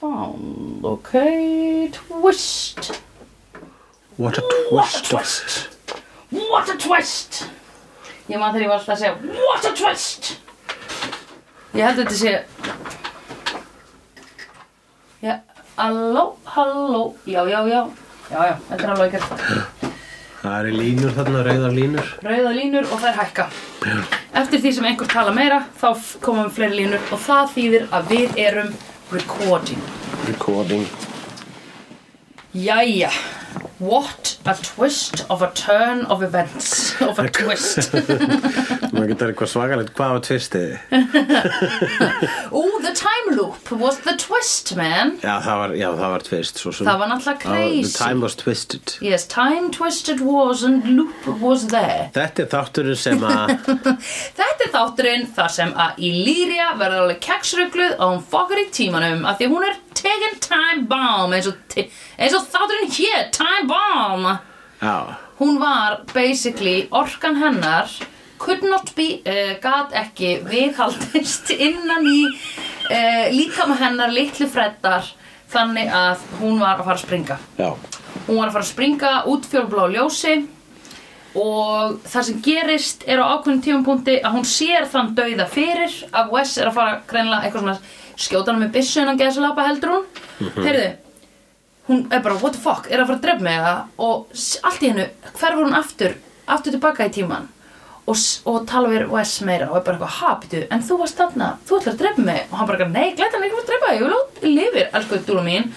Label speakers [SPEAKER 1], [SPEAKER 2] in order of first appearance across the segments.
[SPEAKER 1] Bound, ok, twist,
[SPEAKER 2] What a twist of
[SPEAKER 1] what a twist Ég man þegar ég var alltaf að segja What a twist Ég held að þetta sé Já, halló, halló Já, já, já, já, já, þetta er alveg ekkert
[SPEAKER 2] Það eru línur þarna, rauðar línur
[SPEAKER 1] Rauða línur og þær hækka Eftir því sem einhver tala meira þá f- komum fleiri línur og það þýðir að við erum recording
[SPEAKER 2] Recording
[SPEAKER 1] Jæja What a twist of a turn of events of a twist
[SPEAKER 2] Maður getur eitthvað svakalegt Hvað var twistiði?
[SPEAKER 1] Oh, the time loop was the twist, man
[SPEAKER 2] Já, það var, já, það var twist svo sem
[SPEAKER 1] Það var náttúrulega
[SPEAKER 2] Það var-
[SPEAKER 1] crazy
[SPEAKER 2] Oh, The time was twisted
[SPEAKER 1] Yes, time twisted was and loop was there.
[SPEAKER 2] Þetta er þátturinn sem að
[SPEAKER 1] Þetta er þátturinn þar sem að Illyria verður alveg keksrugluð og hún fokkar í tímanum af því hún er taking time bomb eins og, ti- eins og þátturinn hér, time bomb.
[SPEAKER 2] Já,
[SPEAKER 1] Hún var basically, orkan hennar could not be, uh, gat ekki viðhaldist innan í uh, líkama hennar litlu freddar þannig að hún var að fara að springa.
[SPEAKER 2] já,
[SPEAKER 1] Hún var að fara að springa út fjólblá ljósi og það sem gerist er á ákveðin tímapunkti að hún sér þann dauða fyrir að Wes er að fara greinlega eitthvað svona skjóta hann með byssu innan geðslapa heldur hún mm heyrðu, hún er bara what the fuck, er að fara að drefna mig eða og s- allt í hennu, hverfur hún aftur aftur tilbaka í tíman og, s- og tala við Wes meira og er bara eitthvað ha, býtu, en þú varst þarna, þú ætlar að drefna mig og hann bara, eitthvað, nei, glætan er ekki að fara að drepa þig, ég vil út lifir, elsku dúla mín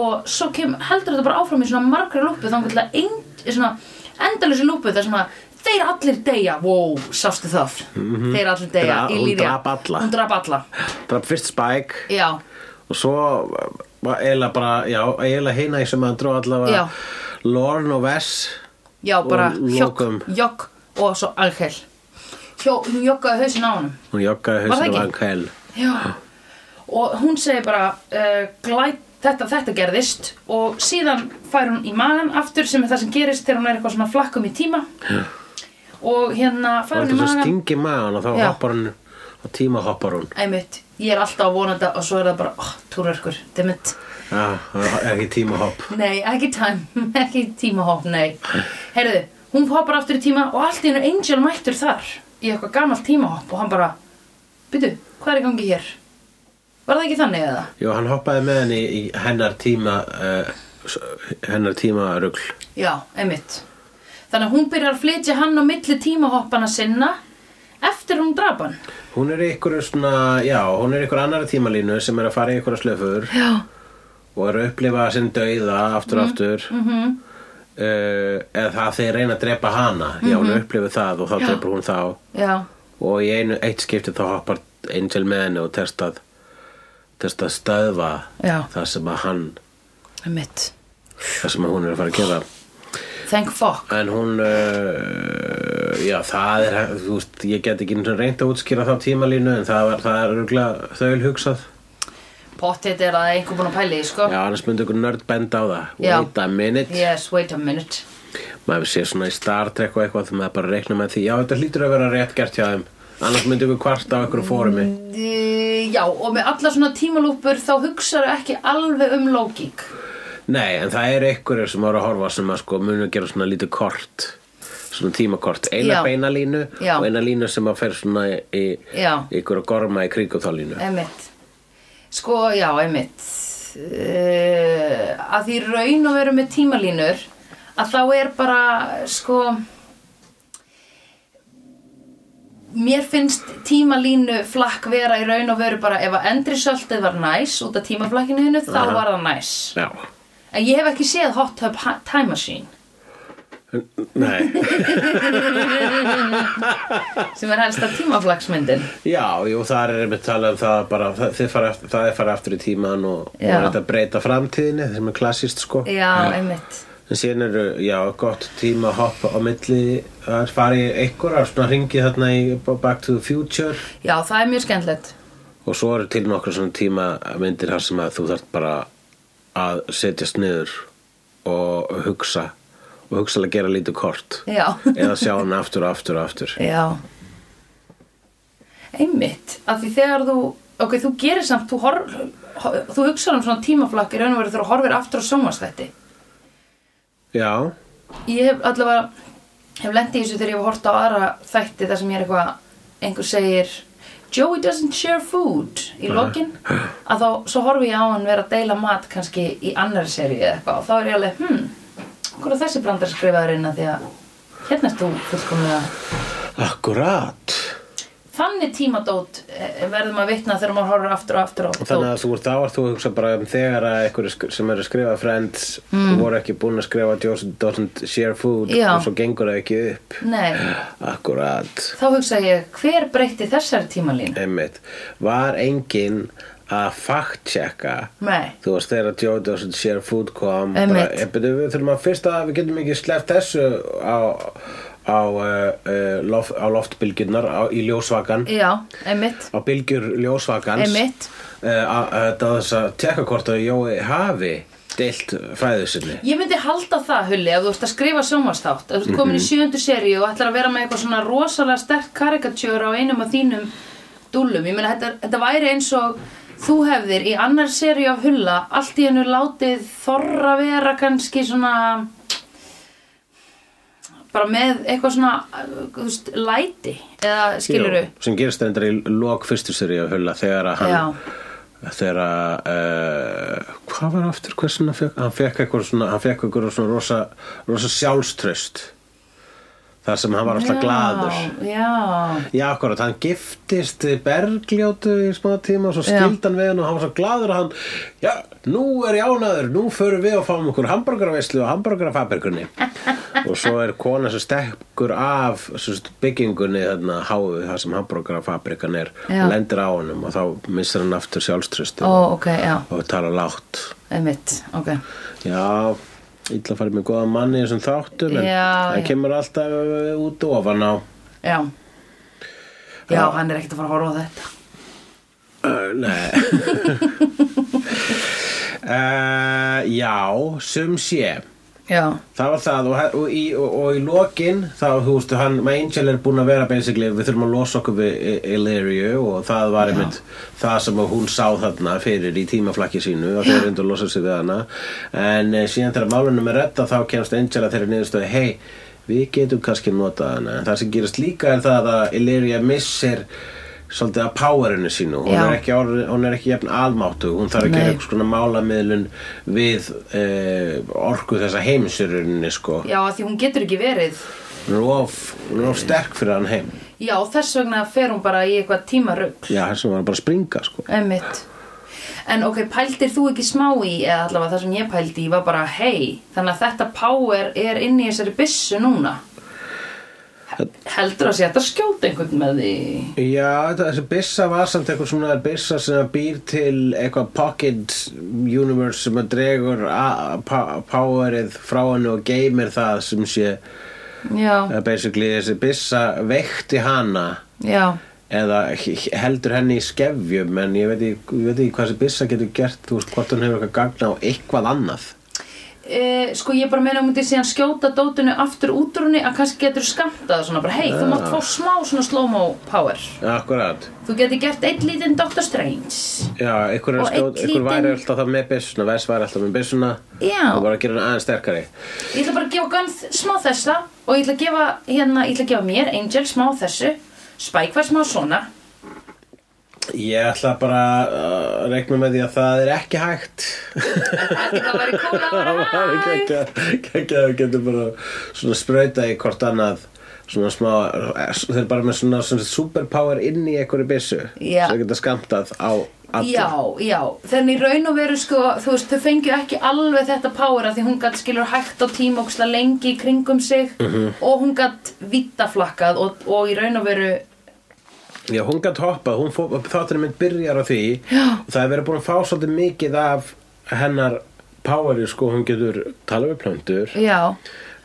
[SPEAKER 1] og svo kem, heldur þetta bara áfram í svona margri lúpu þá til að ein, í svona endalösi lúpu þar sem að þeir allir deyja, wow, sástu það þeir allir deyja,
[SPEAKER 2] Mhm. Dra-
[SPEAKER 1] í
[SPEAKER 2] hún
[SPEAKER 1] líðja
[SPEAKER 2] drap alla.
[SPEAKER 1] hún drap alla,
[SPEAKER 2] draf fyrst Spike
[SPEAKER 1] já
[SPEAKER 2] og svo var eiginlega bara, já, eiginlega hina sem að dró allavega
[SPEAKER 1] Já.
[SPEAKER 2] Lorne og Vess
[SPEAKER 1] Já, bara
[SPEAKER 2] Og lokum.
[SPEAKER 1] hjokk, jokk og svo Angel Hjó, hún jokkaði hausinn á honum
[SPEAKER 2] hún
[SPEAKER 1] Var það
[SPEAKER 2] joggaði hausinu
[SPEAKER 1] ekki?
[SPEAKER 2] vankail
[SPEAKER 1] Já Og hún segir bara uh, glæt, þetta, þetta gerðist og síðan fær hún í magan aftur sem er það sem gerist þegar hún er eitthvað svona flakkum í tíma Já. og hérna
[SPEAKER 2] og
[SPEAKER 1] fær hún í
[SPEAKER 2] þetta svo
[SPEAKER 1] magan
[SPEAKER 2] stingi maðan og þá
[SPEAKER 1] Já.
[SPEAKER 2] hoppar hún og tíma hoppar hún
[SPEAKER 1] Æmitt, ég er alltaf að vona þetta og svo er það bara, oh, túrverkur, demmit
[SPEAKER 2] já, það er ekki tíma hopp
[SPEAKER 1] Nei, ekki time, ekki tímahopp, nei Heyrðu, hún hoppar aftur í tíma og allt í hennu Angel mættur þar í eitthvað gamalt tímahopp og hann bara Býtu, hvað er í gangi hér? Var það ekki þannig eða?
[SPEAKER 2] Jú, hann hoppaði með henni í hennar tíma uh, hennar tíma rugl
[SPEAKER 1] Já, einmitt Þannig að hún byrjar að flytja hann á milli tímahoppana sinna eftir hún drap hann
[SPEAKER 2] hún er ykkur svona, já, hún er ykkur annara tímalínu sem er að fara í ykkur slöfur
[SPEAKER 1] Já
[SPEAKER 2] og er að upplifa sinn dauða aftur
[SPEAKER 1] Mhm,
[SPEAKER 2] og aftur mm -hmm. eða það þeir reyna að drepa hana já, hún upplifa það og þá
[SPEAKER 1] Mhm. Já.
[SPEAKER 2] drepur hún þá
[SPEAKER 1] Já,
[SPEAKER 2] og í einu eitt skipti þá hoppar Angel með henni og testað testað stöðva
[SPEAKER 1] Já.
[SPEAKER 2] það sem að hann
[SPEAKER 1] einmitt
[SPEAKER 2] það sem að hún er að fara að gera
[SPEAKER 1] Thank fuck
[SPEAKER 2] en hún uh, já það er þú veist, ég get ekki einu sinni reynt að útskýra þá tímalínu en það, var, það er örgulega þaul hugsað
[SPEAKER 1] Pottet er að einhver búin að pæli, því, sko
[SPEAKER 2] já annars myndi ykkur nörd benda á það
[SPEAKER 1] Já.
[SPEAKER 2] wait a minute
[SPEAKER 1] Yes, wait a minute
[SPEAKER 2] maður sé svona í Star Trek og eitthvað þegar maður bara reikna með því já þetta hlýtur að vera rétt gert hjá þeim annars myndi ykkur kvart á ykkur fórumi
[SPEAKER 1] E, Já, og með alla svona tímalúpur þá hugsaðu ekki alveg um lógík.
[SPEAKER 2] Nei, en það eru einhverjur sem voru að horfa sem að sko munu að gera svona lítið kort svona tímakort, eina
[SPEAKER 1] Já.
[SPEAKER 2] beina línu
[SPEAKER 1] Já.
[SPEAKER 2] og eina línu sem að fer svona í
[SPEAKER 1] Já.
[SPEAKER 2] ykkur að gorma í kringum þá línu
[SPEAKER 1] Einmitt. Sko, já, einmitt. E, að því raun og veru með tímalínur að þá er bara, sko, mér finnst tímalínu flakk vera í raun og veru bara ef að endrisöltið var næs út af tímaflakkinu hennu þá
[SPEAKER 2] Aha.
[SPEAKER 1] var það næs.
[SPEAKER 2] Já,
[SPEAKER 1] En ég hef ekki séð Hot Tub Ha- Time Machine.
[SPEAKER 2] nei
[SPEAKER 1] sem er helsta tímaflagsmyndin
[SPEAKER 2] Já, jú, það er einmitt talað um það bara, það, þið fara, eftir, það er fara aftur í tíman og, og
[SPEAKER 1] Já.
[SPEAKER 2] er þetta að breyta framtíðinni sem er klassist sko
[SPEAKER 1] já, einmitt
[SPEAKER 2] en síðan eru, já, gott tíma að hoppa á milli að fara í einhver að svona ringi þarna í Back to the Future
[SPEAKER 1] já, það er mjög skemmtilegt
[SPEAKER 2] Og svo eru til nokkur svona tíma myndir þar sem að þú þarft bara að setjast niður og hugsa og hugsalega gera lítið kort
[SPEAKER 1] já,
[SPEAKER 2] eða sjá hann aftur og aftur og aftur
[SPEAKER 1] já einmitt, af því þegar þú ok, þú gerir samt, þú, hor, ho- þú hugsar um svona tímaflakk í raun og veru þegar þú horfir aftur á sjónvarsþætti.
[SPEAKER 2] Já,
[SPEAKER 1] Ég hef allavega, hef lent í þessu þegar ég hef hort á aðra þætti þar sem ég er eitthvað, einhver segir Joey doesn't share food í lokin að þá, svo horfi ég á hann vera að deila mat kannski í annari seríu eða eitthvað og þá er ég alveg, hmm, hvað er þessi brandar skrifaður inn að því að hérna er þú fullkomlega
[SPEAKER 2] akkurat
[SPEAKER 1] þannig tímadót eh, verður maður vitna þegar maður horfir aftur og aftur á
[SPEAKER 2] Þannig
[SPEAKER 1] dót
[SPEAKER 2] að þú ert þá að þú hugsa bara um þegar að einhverju sk- sem eru að skrifa Friends voru ekki búin að skrifa Joseph doesn't share food
[SPEAKER 1] Mm. Já.
[SPEAKER 2] og svo gengur það ekki upp
[SPEAKER 1] Nei,
[SPEAKER 2] Akkurat
[SPEAKER 1] þá hugsa ég hver breytti þessari tímalínu?
[SPEAKER 2] Einmitt. Var enginn að fact-checka
[SPEAKER 1] Nei,
[SPEAKER 2] Þú veist þegar Joe doesn't share food kom
[SPEAKER 1] Mm. Einmitt.
[SPEAKER 2] bara, "Eh, byrju, Við þurfum að fyrst að við getum ekki sleppt þessu á, á, uh, uh, lof, á loftbylgjurnar á, í ljósvakan
[SPEAKER 1] já, einmitt
[SPEAKER 2] á bylgjur ljósvakans
[SPEAKER 1] Einmitt.
[SPEAKER 2] uh, að að- að þess að tekka hvort að Jói hafi deilt fræðu sinni
[SPEAKER 1] Ég myndi halda það, Hulli, ef þú ert að skrifa sjónvarsþátt ef þú ert
[SPEAKER 2] Mhm.
[SPEAKER 1] komin í sjöndu seríu og ætlar að vera með eitthvað svona rosalega sterk karikatjör á einum af þínum dúllum ég meina, þetta, þetta væri eins og þú hefðir í annar seríu af Hulla allt í hennu látið þorra vera kannski svona bara með eitthvað svona uh, þú veist, læti eða skiluru
[SPEAKER 2] Jú, sem gerist reyndar í lok fyrstu seri af Hulla þegar að hann
[SPEAKER 1] Já.
[SPEAKER 2] þegar að uh, hvað var aftur hversin hann fekk hann fekk eitthvað svona, hann fekk eitthvað svona rosa, rosa sjálfströst þar sem hann var alltaf glaður
[SPEAKER 1] Já,
[SPEAKER 2] Já, akkurat, hann giftist við Bergljótu í smá tíma og svo
[SPEAKER 1] Já.
[SPEAKER 2] skildi hann við hann og hann var svo gladur að hann Já, nú er ég ánaður, nú förum við og fáum okkur hambúrgarveislu og hambúrgarfabrikunni og svo er kona sem stekkur af sem sagt, byggingunni þarna háðu það sem hambúrgarfabrikan er
[SPEAKER 1] Já.
[SPEAKER 2] og lendir á honum og þá missir hann aftur sjálfströsti
[SPEAKER 1] ó, ok, já,
[SPEAKER 2] og tala lágt
[SPEAKER 1] einmitt, ok
[SPEAKER 2] Já, illa farið með góða manni í þessum þáttum en
[SPEAKER 1] Já, já.
[SPEAKER 2] það kemur alltaf uh, út ofan á
[SPEAKER 1] Já Já,
[SPEAKER 2] Já.
[SPEAKER 1] hann er ekkert að fara að horfa á þetta
[SPEAKER 2] Uh, nei uh, Já, sum sé
[SPEAKER 1] Já,
[SPEAKER 2] Það var það og, og, í, og, og í lokin þá, þú veistu, hann, my angel er búin að vera basically, við þurfum að losa okkur við I- Illyriu og það var einmitt það sem að hún sá þarna fyrir í tímaflakki sínu og þeir reyndu að losa sig við hana en eh, síðan þegar málunum er redda þá kemst angel að þeirri niðurstöðu, hei við getum kannski notað hana en það sem gerist líka er það að Illyria missir svolítið að powerinu sínu hún
[SPEAKER 1] Já.
[SPEAKER 2] er, ekki, orð- hún er ekki jafn almáttu hún þarf ekki
[SPEAKER 1] Nei.
[SPEAKER 2] einhvers konar málamiðlun við eh, orku þessa heimsurinni sko
[SPEAKER 1] já af því hún getur ekki verið
[SPEAKER 2] hún er of, hún er of sterk fyrir hann heim
[SPEAKER 1] Já, þess vegna fer hún bara í eitthvað tímarugl
[SPEAKER 2] já, þess vegna var hann bara að springa sko
[SPEAKER 1] Einmitt En ok, pældir þú ekki smá í eða allavega það sem ég pældi í var bara hei, þannig að þetta power er inn í þessari byssu núna He- Heldur að sé hægt að skjóta einhvern með því
[SPEAKER 2] já, þetta- þessi byssa var samt eitthvað svona byssa sem býr til eitthvað pocket universe sem að dregur a- pa- powerið frá hann og geymir það sem sé
[SPEAKER 1] Já,
[SPEAKER 2] eh, basically þessi byssa veikti hana
[SPEAKER 1] já,
[SPEAKER 2] eða h- heldur henni í skefjum en ég veit ekki, ég veit ekki hvað þessi byssa getur gert þú veist hvort hún hefur eitthvað gagna á eitthvað annað
[SPEAKER 1] e, sko ég bara meina að hún myndi síðan skjóta dótinu aftur út úr henni að kannski getur skamtað svona bara hei, þú mátt fá smá svona slow-mo power
[SPEAKER 2] Akkurat,
[SPEAKER 1] Þú getur gert einn lítinn Dr. Strange
[SPEAKER 2] já, ykkur, er
[SPEAKER 1] Og
[SPEAKER 2] skjóð,
[SPEAKER 1] einn
[SPEAKER 2] ykkur væri
[SPEAKER 1] lítinn-
[SPEAKER 2] alltaf það með byssuna Vess væri alltaf með byssuna
[SPEAKER 1] Já.
[SPEAKER 2] og bara að gera hann aðeins sterkari
[SPEAKER 1] Ég ætla bara að gefa Gunn þ- smá þessa og ég ætla að gefa, hérna, ég ætla að gefa mér, Angel, smá þessu Spike var smá svona
[SPEAKER 2] Ég ætla bara að reikna með því að það er ekki hægt
[SPEAKER 1] Ætli Það væri cool að vera
[SPEAKER 2] Það
[SPEAKER 1] hæ
[SPEAKER 2] er ekki að við getum bara svona sprauta í hvort annað svona smá, þeir eru bara með svona, svona superpower inn í einhverju byssu
[SPEAKER 1] Já.
[SPEAKER 2] sem geta skamtað á alla.
[SPEAKER 1] Já, já, þannig í raun og veru sko, þú veist, þau fengju ekki alveg þetta power að því hún gatt skilur hægt á tímóksla lengi í kringum sig
[SPEAKER 2] Mhm.
[SPEAKER 1] og hún gatt vittaflakkað og, og í raun og veru,
[SPEAKER 2] Já, hún gætt hoppað, hún fó, þátturinn mynd byrjar á því Já. og það er verið búin að fá svolítið mikið af hennar poweri, sko, hún getur tala við plöndur,
[SPEAKER 1] já,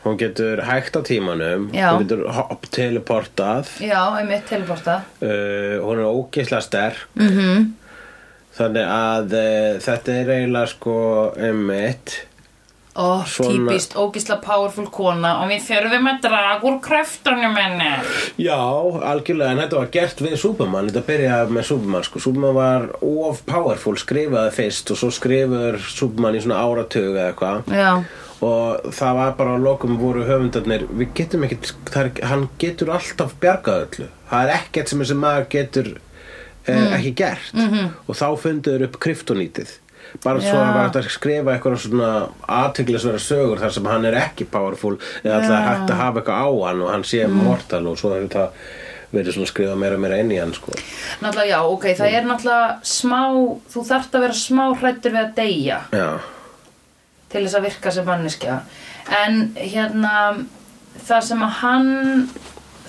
[SPEAKER 2] hún getur hægt á tímanum,
[SPEAKER 1] Já.
[SPEAKER 2] hún getur hopp teleportað,
[SPEAKER 1] já, einmitt teleporta
[SPEAKER 2] uh, hún er ógeislega sterk mm -hmm.
[SPEAKER 1] Mhm.
[SPEAKER 2] þannig að uh, þetta er eiginlega sko um mitt
[SPEAKER 1] Ó,
[SPEAKER 2] Svona-
[SPEAKER 1] típist, ógisla powerful kona og við þurfum að draga úr kröftunum henni.
[SPEAKER 2] Já, algjörlega, en þetta var gert við Superman, þetta byrjaði með Superman sko. Superman var of powerful, skrifaði fyrst og svo skrifaður Superman í svona áratug eða eitthvað
[SPEAKER 1] Já,
[SPEAKER 2] og það var bara að lokum voru höfundarnir, við getum ekkert, það er, hann getur alltaf bjargað öllu, það er ekkert sem þessi maður getur eh,
[SPEAKER 1] Mm.
[SPEAKER 2] ekki gert -hmm. og þá funduður upp kryptonítið bara svo
[SPEAKER 1] Mhm. Já.
[SPEAKER 2] að var hægt að skrifa eitthvað svona aðtiklisverða sögur þar sem hann er ekki powerful eða alltaf
[SPEAKER 1] Já. Mm.
[SPEAKER 2] hægt að hafa eitthvað á hann og hann sé mortal og svo hefur það verið svona skrifað meira og meira inn í hann sko.
[SPEAKER 1] náttúrulega já, ok, það er náttúrulega smá, þú þarft að vera smá hrættur við að deyja
[SPEAKER 2] Já,
[SPEAKER 1] til þess að virka sem manneskja. En hérna, það sem að hann,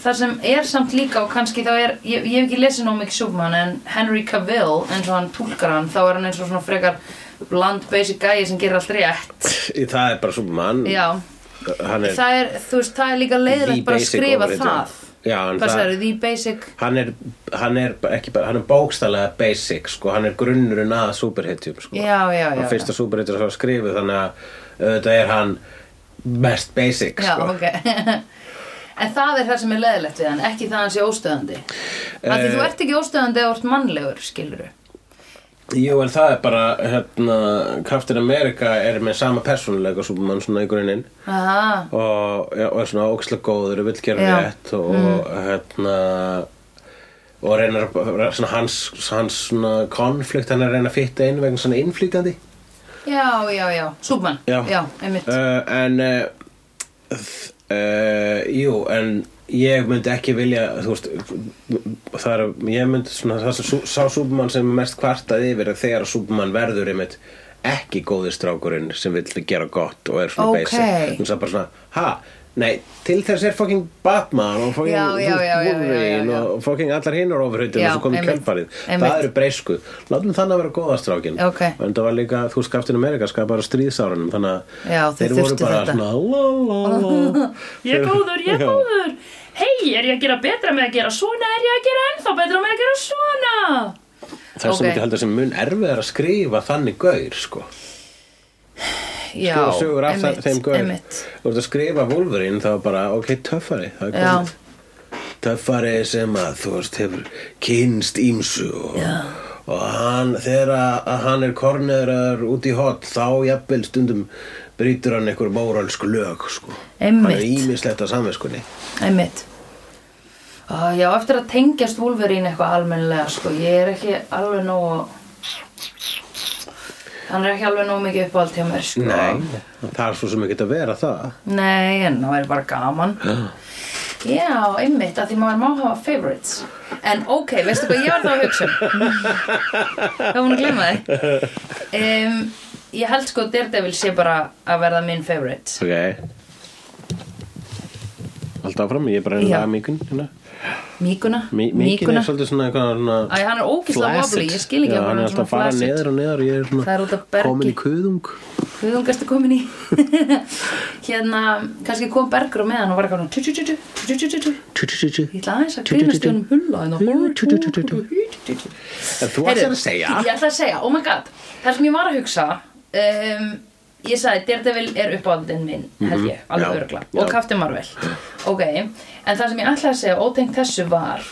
[SPEAKER 1] það sem er samt líka og kannski þá er, ég, ég hef ekki lesið nóg mikið Superman en Henry Cavill, eins og hann túlkar hann, þá er hann eins og svona frekar bland basic gæi sem gerir allt rétt.
[SPEAKER 2] Í- það er bara Superman
[SPEAKER 1] Já,
[SPEAKER 2] hann er
[SPEAKER 1] það er, þú veist, það er líka leiðrætt
[SPEAKER 2] The
[SPEAKER 1] bara að
[SPEAKER 2] basic
[SPEAKER 1] skrifa
[SPEAKER 2] overrated.
[SPEAKER 1] það.
[SPEAKER 2] Já, en
[SPEAKER 1] Hvað
[SPEAKER 2] það-
[SPEAKER 1] sagðirðu, the basic?
[SPEAKER 2] hann er, hann er bara- ekki bara, hann er bókstælega basic sko, hann er grunnurinn að superhetjum sko.
[SPEAKER 1] Já, já, já,
[SPEAKER 2] hann fyrsta superhetjum sem var skrifuð þannig að auðvitað er hann mest basic
[SPEAKER 1] Já,
[SPEAKER 2] sko.
[SPEAKER 1] ok En það er það sem er leðilegt við hann, ekki það að hann sé óstöðandi Af því
[SPEAKER 2] Eh,
[SPEAKER 1] þú ert ekki óstöðandi eða þú ert mannlegur, skilur
[SPEAKER 2] Jú, en það er bara hérna, Captain America er með sama persónuleika Superman svona í grunninn
[SPEAKER 1] Aha,
[SPEAKER 2] og, ja, og er svona ókslega góður og vill gera
[SPEAKER 1] Já. Mm.
[SPEAKER 2] rétt og hérna og reynar að- svona hans, hans svona konflikt hann er að reyna að fitta inn vegna svona innflýtandi
[SPEAKER 1] já, já, já, Súbmann
[SPEAKER 2] Já.
[SPEAKER 1] einmitt
[SPEAKER 2] uh, en uh, uh, jú, en ég myndi ekki vilja þú veist, það er ég myndi svona, það sem sú- sá Súbumann sem er mest kvartaði yfir er þegar Súbumann verður einmitt ekki góði strákurinn sem vill gera gott og er svona
[SPEAKER 1] Ókei.
[SPEAKER 2] basic þú veist það bara svona, ha, nei til þess er fucking Batman og fucking
[SPEAKER 1] Já, já, já, já, já,
[SPEAKER 2] Wolverine
[SPEAKER 1] já, já.
[SPEAKER 2] og fucking allar hinnar ofurhautin
[SPEAKER 1] Já,
[SPEAKER 2] og svo komið
[SPEAKER 1] einmitt,
[SPEAKER 2] kjöldfarið
[SPEAKER 1] einmitt.
[SPEAKER 2] það eru breysku, látum þannig að vera góða strákin
[SPEAKER 1] Ókei.
[SPEAKER 2] en það var líka, þú veist, Captain America skapar á stríðsárunum, þannig að
[SPEAKER 1] Já, þeir
[SPEAKER 2] þeir voru
[SPEAKER 1] þurftu
[SPEAKER 2] bara
[SPEAKER 1] þetta.
[SPEAKER 2] svona la, la, la.
[SPEAKER 1] Ég er góður, ég er
[SPEAKER 2] Já.
[SPEAKER 1] góður Hei, er ég að gera betra með að gera svona er ég að gera ennþá betra með að gera svona
[SPEAKER 2] þess að
[SPEAKER 1] Ok.
[SPEAKER 2] myndi heldur sem mun erfiðar að skrifa þannig gaur sko.
[SPEAKER 1] Já,
[SPEAKER 2] skrifa Sko, sögur af það, þeim gaur
[SPEAKER 1] einmitt
[SPEAKER 2] þú ert að skrifa Wolverine þá bara ok, töffari, það er
[SPEAKER 1] Já.
[SPEAKER 2] komið töffari sem að þú veist hefur kynst ímsu og, og hann, þegar að að hann er kornerar út í hot þá jafnvel stundum brýtur hann einhver móralsku lög sko. hann
[SPEAKER 1] Einmitt.
[SPEAKER 2] er ímislegt að samviskunni
[SPEAKER 1] Einmitt ah, Já, eftir að tengjast Wolverine eitthvað almennilega sko. Ég er ekki alveg nóg Hann er ekki alveg nóg mikið uppáhald hjá mér sko.
[SPEAKER 2] það er svo sem ekki að vera það
[SPEAKER 1] Nei, en það væri bara gaman Já, einmitt, að því maður má hafa favorites En ok, veistu hvað ég var þá að hugsa um? Það var hún að glemma þig um, Ég held sko að Daredevil sé bara að verða minn favorite
[SPEAKER 2] Ok Alltaf áfram, ég er bara
[SPEAKER 1] Já.
[SPEAKER 2] einu að mikun hérna.
[SPEAKER 1] Míkuna
[SPEAKER 2] Mi- Mikun er svolítið svona eitthvað svona
[SPEAKER 1] Æ, hann er ógeðslega
[SPEAKER 2] flaccid.
[SPEAKER 1] wobbly, ég skil ekki
[SPEAKER 2] Já,
[SPEAKER 1] af hverju
[SPEAKER 2] hann
[SPEAKER 1] hann
[SPEAKER 2] er
[SPEAKER 1] er
[SPEAKER 2] alltaf að
[SPEAKER 1] svona
[SPEAKER 2] fara
[SPEAKER 1] flaccid.
[SPEAKER 2] neður og neður og ég er
[SPEAKER 1] Það er út
[SPEAKER 2] svona
[SPEAKER 1] af bergi.
[SPEAKER 2] komin í kuðung
[SPEAKER 1] Guðungastu komin í hérna, kannski kom Bergur á meðan og var eitthvað svona tjú, tjú, tjú, tjú, tjú, tjú, tjú.
[SPEAKER 2] Tjú, tjú, tjú, tjú.
[SPEAKER 1] ég ætla aðeins að grínast í honum hulla en
[SPEAKER 2] Tjú, tjú, tjú, tjú, tjú.
[SPEAKER 1] það
[SPEAKER 2] En þú ætlar að segja
[SPEAKER 1] ég ætla að segja, oh my god það sem ég var að hugsa um, ég sagði Daredevil er uppáhaldin minn held ég, alveg
[SPEAKER 2] Mhm, Já,
[SPEAKER 1] örgla
[SPEAKER 2] já.
[SPEAKER 1] og Captain Marvel ok, en það sem ég ætla að segja ótengt þessu var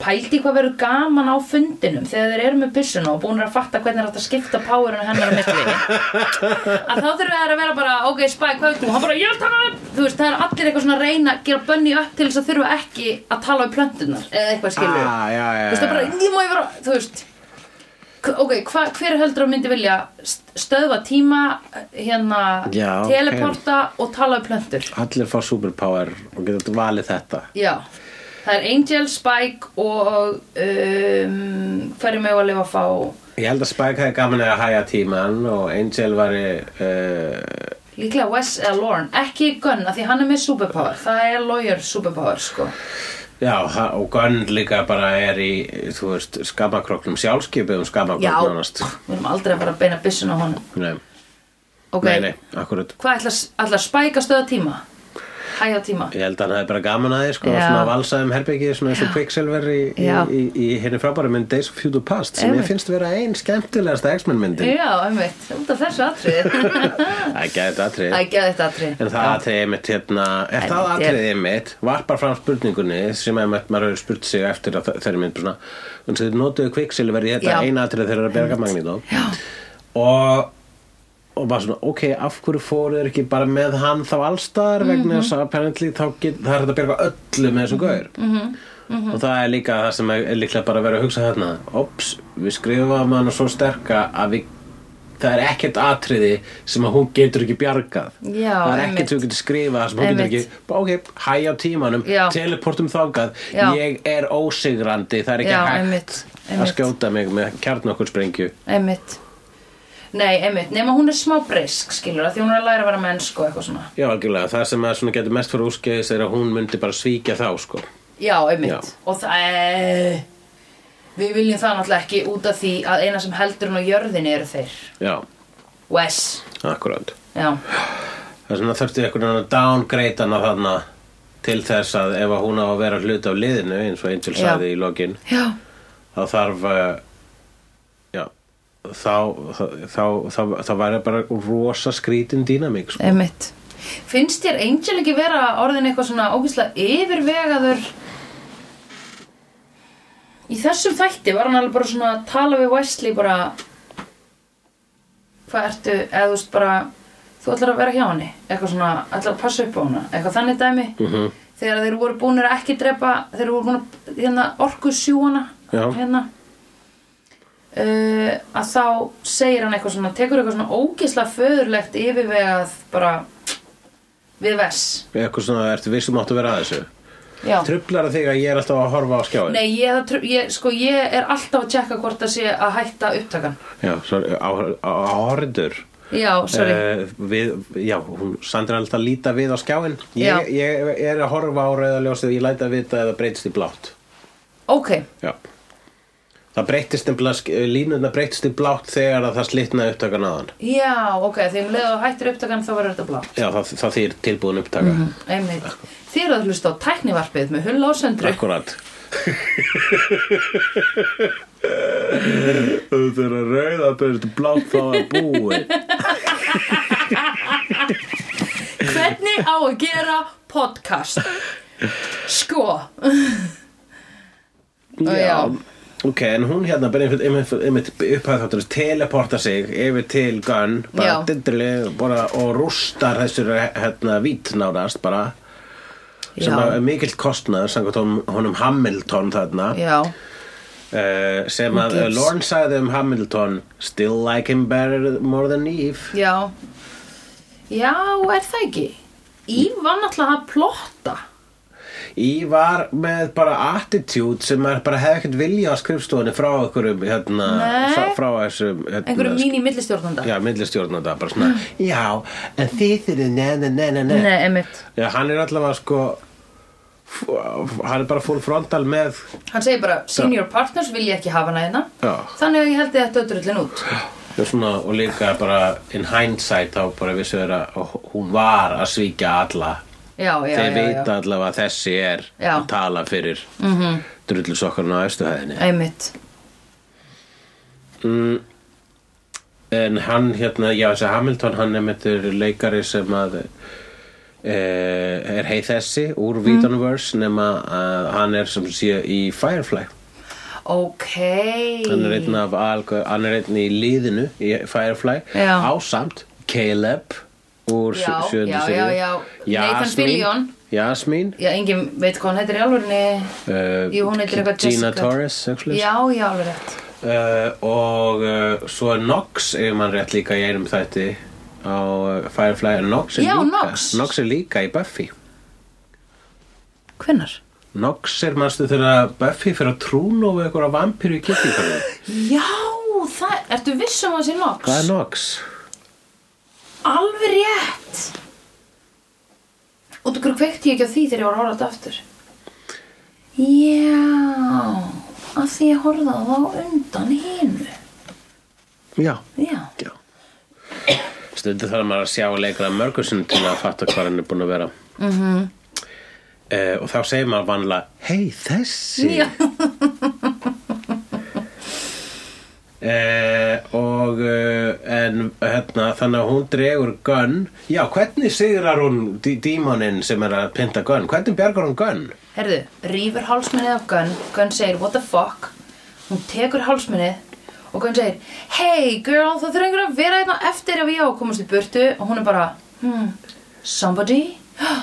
[SPEAKER 1] pældi hvað verður gaman á fundinum þegar þeir eru með byssuna og búin að fatta hvernig er hægt að skipta powerinu hennar á milli að þá þurfum við að vera bara ok, Spike, hvað veit þú? Hann bara, ég vil tala um þú veist, það er allir eitthvað svona að reyna að gera bönni upp til þess að þurfa ekki að tala um plöntunar eða eitthvað skilur
[SPEAKER 2] Ah, já, já,
[SPEAKER 1] þú veist, það
[SPEAKER 2] já.
[SPEAKER 1] bara, ég má ég vera, þú veist K- ok, hva, hver heldur að myndi vilja st- stöðva tíma hérna,
[SPEAKER 2] Já, ok.
[SPEAKER 1] teleporta og tala um plöntur
[SPEAKER 2] Allir fá superpower og getur valið þetta
[SPEAKER 1] já, það er Angel, Spike og um, hverju mig var að lifa að fá
[SPEAKER 2] Ég held að Spike hefði gaman að hæja tíman og Angel var uh,
[SPEAKER 1] líklega Wes eða Lauren, ekki Gunn af því hann er með superpower, það er lawyer superpower sko
[SPEAKER 2] Já, það- og Gunn líka bara er í, þú veist, skamakrokknum sjálfskipið um
[SPEAKER 1] Já,
[SPEAKER 2] skamakrokk nánast.
[SPEAKER 1] við erum aldrei að fara að beina byssun á honum
[SPEAKER 2] Nei,
[SPEAKER 1] Ok,
[SPEAKER 2] nei, nei, akkurat
[SPEAKER 1] hvað ætlar, ætlar Spike að stöða tíma? hægja tíma
[SPEAKER 2] Ég held að hann hefði bara gaman að þið sko,
[SPEAKER 1] Já.
[SPEAKER 2] svona valsað um herbyggið svona eins og Quicksilver í, í,
[SPEAKER 1] Já.
[SPEAKER 2] í, í henni frábæra mynd Days of Future Past sem
[SPEAKER 1] Einmitt.
[SPEAKER 2] ég finnst vera ein skemmtilegasta X-Men myndin.
[SPEAKER 1] Já, einmitt, út af þessu atrið
[SPEAKER 2] Það er gæðið atrið.
[SPEAKER 1] Ægja þetta atrið
[SPEAKER 2] En það atriðið mitt hérna, er það
[SPEAKER 1] Einmitt, ég-
[SPEAKER 2] atriðið mitt, varpar fram spurningunni sem að maður hefur spurt sig eftir að þe- þeirri mynd bara svona, þannig að þið notuðu kviksilver í þetta
[SPEAKER 1] Já.
[SPEAKER 2] eina atrið þeirra að berga Magnító og, og bara svona, ok, af hverju fóruðu þeir ekki bara með hann þá allstaðar vegna
[SPEAKER 1] Mhm.
[SPEAKER 2] þess að apparently þá get, það er hægt að berga öllu með þessu gaur
[SPEAKER 1] Mhm.
[SPEAKER 2] og það er líka það sem er líklega bara að vera að hugsa þarna ops, við skrifum hann svo sterka að við Það er ekkert atriði sem að hún getur ekki bjargað
[SPEAKER 1] Já,
[SPEAKER 2] það er
[SPEAKER 1] einmitt.
[SPEAKER 2] ekkert sem þú getur skrifað sem hún getur
[SPEAKER 1] Einmitt.
[SPEAKER 2] ekki, bara, ok, hæ á tímanum
[SPEAKER 1] Já.
[SPEAKER 2] teleportum þákað,
[SPEAKER 1] Já.
[SPEAKER 2] ég er ósigrandi það er ekki
[SPEAKER 1] Já,
[SPEAKER 2] hægt
[SPEAKER 1] einmitt,
[SPEAKER 2] að
[SPEAKER 1] einmitt.
[SPEAKER 2] skjóta mig með kjarnokursprengju
[SPEAKER 1] Einmitt Nei, einmitt, nema hún er smá brisk, skilur að því hún er að læra að vera mennsk og eitthvað svona
[SPEAKER 2] Já, algjörlega, það sem að svona getur mest fyrir úskeiðis er að hún myndi bara svíkja þá, sko
[SPEAKER 1] Já, einmitt
[SPEAKER 2] Já.
[SPEAKER 1] Og það er Við viljum það náttúrulega ekki út af því að eina sem heldur hún á jörðinni eru þeir
[SPEAKER 2] Já,
[SPEAKER 1] Wes,
[SPEAKER 2] akkurát
[SPEAKER 1] já,
[SPEAKER 2] Það er svona þurfti einhvern veginn að downgrade hana þarna til þess að ef að hún á að vera hluti af liðinu eins og Angel
[SPEAKER 1] Já.
[SPEAKER 2] sagði í lokin
[SPEAKER 1] já,
[SPEAKER 2] þá þarf eh, já, þá þá, þá, þá, þá væri bara rosa skrítin dýnamík sko.
[SPEAKER 1] einmitt Finnst þér Angel ekki vera orðin eitthvað svona ógæslega yfirvegaður Í þessum þætti var hann alveg bara svona að tala við Wesley bara Hvað ertu, eða þú veist bara Þú ætlar að vera hjá henni Eitthvað svona, ætlar að passa upp á hana Eitthvað þannig dæmi -hmm. Þegar þeir voru búnir að ekki drepa Þeir voru búin að hérna, orku sjúana
[SPEAKER 2] Já.
[SPEAKER 1] Hérna uh, Að þá segir hann eitthvað svona Tekur eitthvað svona ógislega föðurlegt yfirvegað Bara Við vess
[SPEAKER 2] eitthvað svona, ertu vissum áttu að vera að þessu
[SPEAKER 1] Já.
[SPEAKER 2] trublar það þig að ég er alltaf að horfa á skjáin
[SPEAKER 1] Nei, ég, það tru- ég, sko, ég er alltaf að tjekka hvort það sé að hætta upptakan
[SPEAKER 2] já, sorry, á, á, á horrendur
[SPEAKER 1] Já, sorry
[SPEAKER 2] Uh, við, já, hún Sandra er alltaf að líta við á skjáin
[SPEAKER 1] Já.
[SPEAKER 2] ég, ég er að horfa á rauðaljósið ég læta við það eða breytist í blátt
[SPEAKER 1] Ok,
[SPEAKER 2] já. það breytist nefnilega sk- eh, línurnar breytist í blátt þegar að það slitnaði upptakan aðan
[SPEAKER 1] já, ok, því um leið og hættir upptakan þá verður þetta blá
[SPEAKER 2] já, það, það þýr tilbúin upptaka
[SPEAKER 1] Mhm. Einmitt, þið eru að hlusta á tæknivarpið með hulla og söndru
[SPEAKER 2] Akkurat Þetta er að rauða byrst blátt þá er búið
[SPEAKER 1] Hvernig á að gera podcast? Sko Já.
[SPEAKER 2] Ok, en hún hérna bara einmitt- einmitt einmitt upphæð þáttur teleporta sig yfir til Gunn bara
[SPEAKER 1] Já.
[SPEAKER 2] dindrili bara, og rústar þessur hérna vít nárast bara sem
[SPEAKER 1] Já.
[SPEAKER 2] að er mikill kostnaður samkvæmt honum- honum Hamilton þarna
[SPEAKER 1] Já,
[SPEAKER 2] uh, sem að
[SPEAKER 1] Gibbs.
[SPEAKER 2] Lorne sagði um Hamilton still like him better more than Eve
[SPEAKER 1] já Já, er það ekki? Ív var náttúrulega að plotta
[SPEAKER 2] Í var með bara attitude sem maður bara hefði ekkert vilja á skrifstofunni frá einhverjum hérna,
[SPEAKER 1] Nei.
[SPEAKER 2] frá- frá þessum hérna,
[SPEAKER 1] Einhverju
[SPEAKER 2] sk-
[SPEAKER 1] mín í millistjórnanda
[SPEAKER 2] Já, millistjórnanda, bara svona Já, en þið þurfið ne, ne, ne, ne, ne
[SPEAKER 1] Hmm. Nei, einmitt
[SPEAKER 2] Já, hann er allavega sko f- hann er bara full frontal með
[SPEAKER 1] Hann segir bara, senior partners vil ég ekki hafa hana hérna
[SPEAKER 2] Já.
[SPEAKER 1] Þannig að ég held þetta öðrullin út
[SPEAKER 2] og svona, og líka bara in hindsight þá bara vissu þeir að hún var að svíkja alla
[SPEAKER 1] Já, já,
[SPEAKER 2] þeir
[SPEAKER 1] já,
[SPEAKER 2] vita
[SPEAKER 1] já
[SPEAKER 2] allavega að þessi er
[SPEAKER 1] Já. Mhm.
[SPEAKER 2] að tala fyrir mm -hmm. drullusokkarna á austuhæðinni
[SPEAKER 1] Einmitt
[SPEAKER 2] Mm, En hann hérna, já þessi Hamilton hann er myndir leikari sem að e, er heið þessi úr
[SPEAKER 1] Mhm.
[SPEAKER 2] Vítanverse nema að hann er sem sé í Firefly
[SPEAKER 1] Ok
[SPEAKER 2] hann er einn af alg- hann er einn í liðinu í Firefly
[SPEAKER 1] Já.
[SPEAKER 2] ásamt Caleb úr
[SPEAKER 1] Já,
[SPEAKER 2] sjö- sjöundu
[SPEAKER 1] já,
[SPEAKER 2] seríu.
[SPEAKER 1] já, já. Nathan
[SPEAKER 2] Jasmine-
[SPEAKER 1] Fillion.
[SPEAKER 2] Jasmine
[SPEAKER 1] Já, engin veit hvað hann heitir í alvörinni
[SPEAKER 2] Uh,
[SPEAKER 1] Jú, hún heitir eitthvað
[SPEAKER 2] Gina
[SPEAKER 1] Jessica.
[SPEAKER 2] Torres actually.
[SPEAKER 1] Já, já, alveg rétt
[SPEAKER 2] uh, og uh, svo er Nox ef mann rétt líka í einum þætti á uh, Firefly en Nox er,
[SPEAKER 1] Já,
[SPEAKER 2] líka,
[SPEAKER 1] Nox.
[SPEAKER 2] er líka í Buffy
[SPEAKER 1] Hvenær?
[SPEAKER 2] Nox er manstu þegar Buffy fyrir að trúna og eitthvað vampíru í kirkjum
[SPEAKER 1] Já, það, ertu viss um að það sé Nox?
[SPEAKER 2] hvað er Nox?
[SPEAKER 1] Alveg rétt Út af hverju kveikti ég ekki á því þegar ég var að horfa á þetta aftur Já Af því ég horfði á þá undan hinu
[SPEAKER 2] já,
[SPEAKER 1] Já
[SPEAKER 2] já. stundu þarf maður að sjá leikra mörgursin til að fatta hvað hann er búin að vera mm
[SPEAKER 1] Mhm.
[SPEAKER 2] og þá segir maður vanlega hei þessi
[SPEAKER 1] Já.
[SPEAKER 2] Eh, og eh, en hérna, þannig að hún dregur Gunn já, hvernig sigrar hún dí dímoninn sem er að pynta Gunn hvernig bjargar hún Gunn?
[SPEAKER 1] Herðu, rýfur hálsmennið af Gunn Gunn segir, what the fuck Hún tekur hálsmennið og Gunn segir Hey girl, það þurfa einhver að vera hérna eftir ef ég á að komast í burtu og hún er bara, hmm, somebody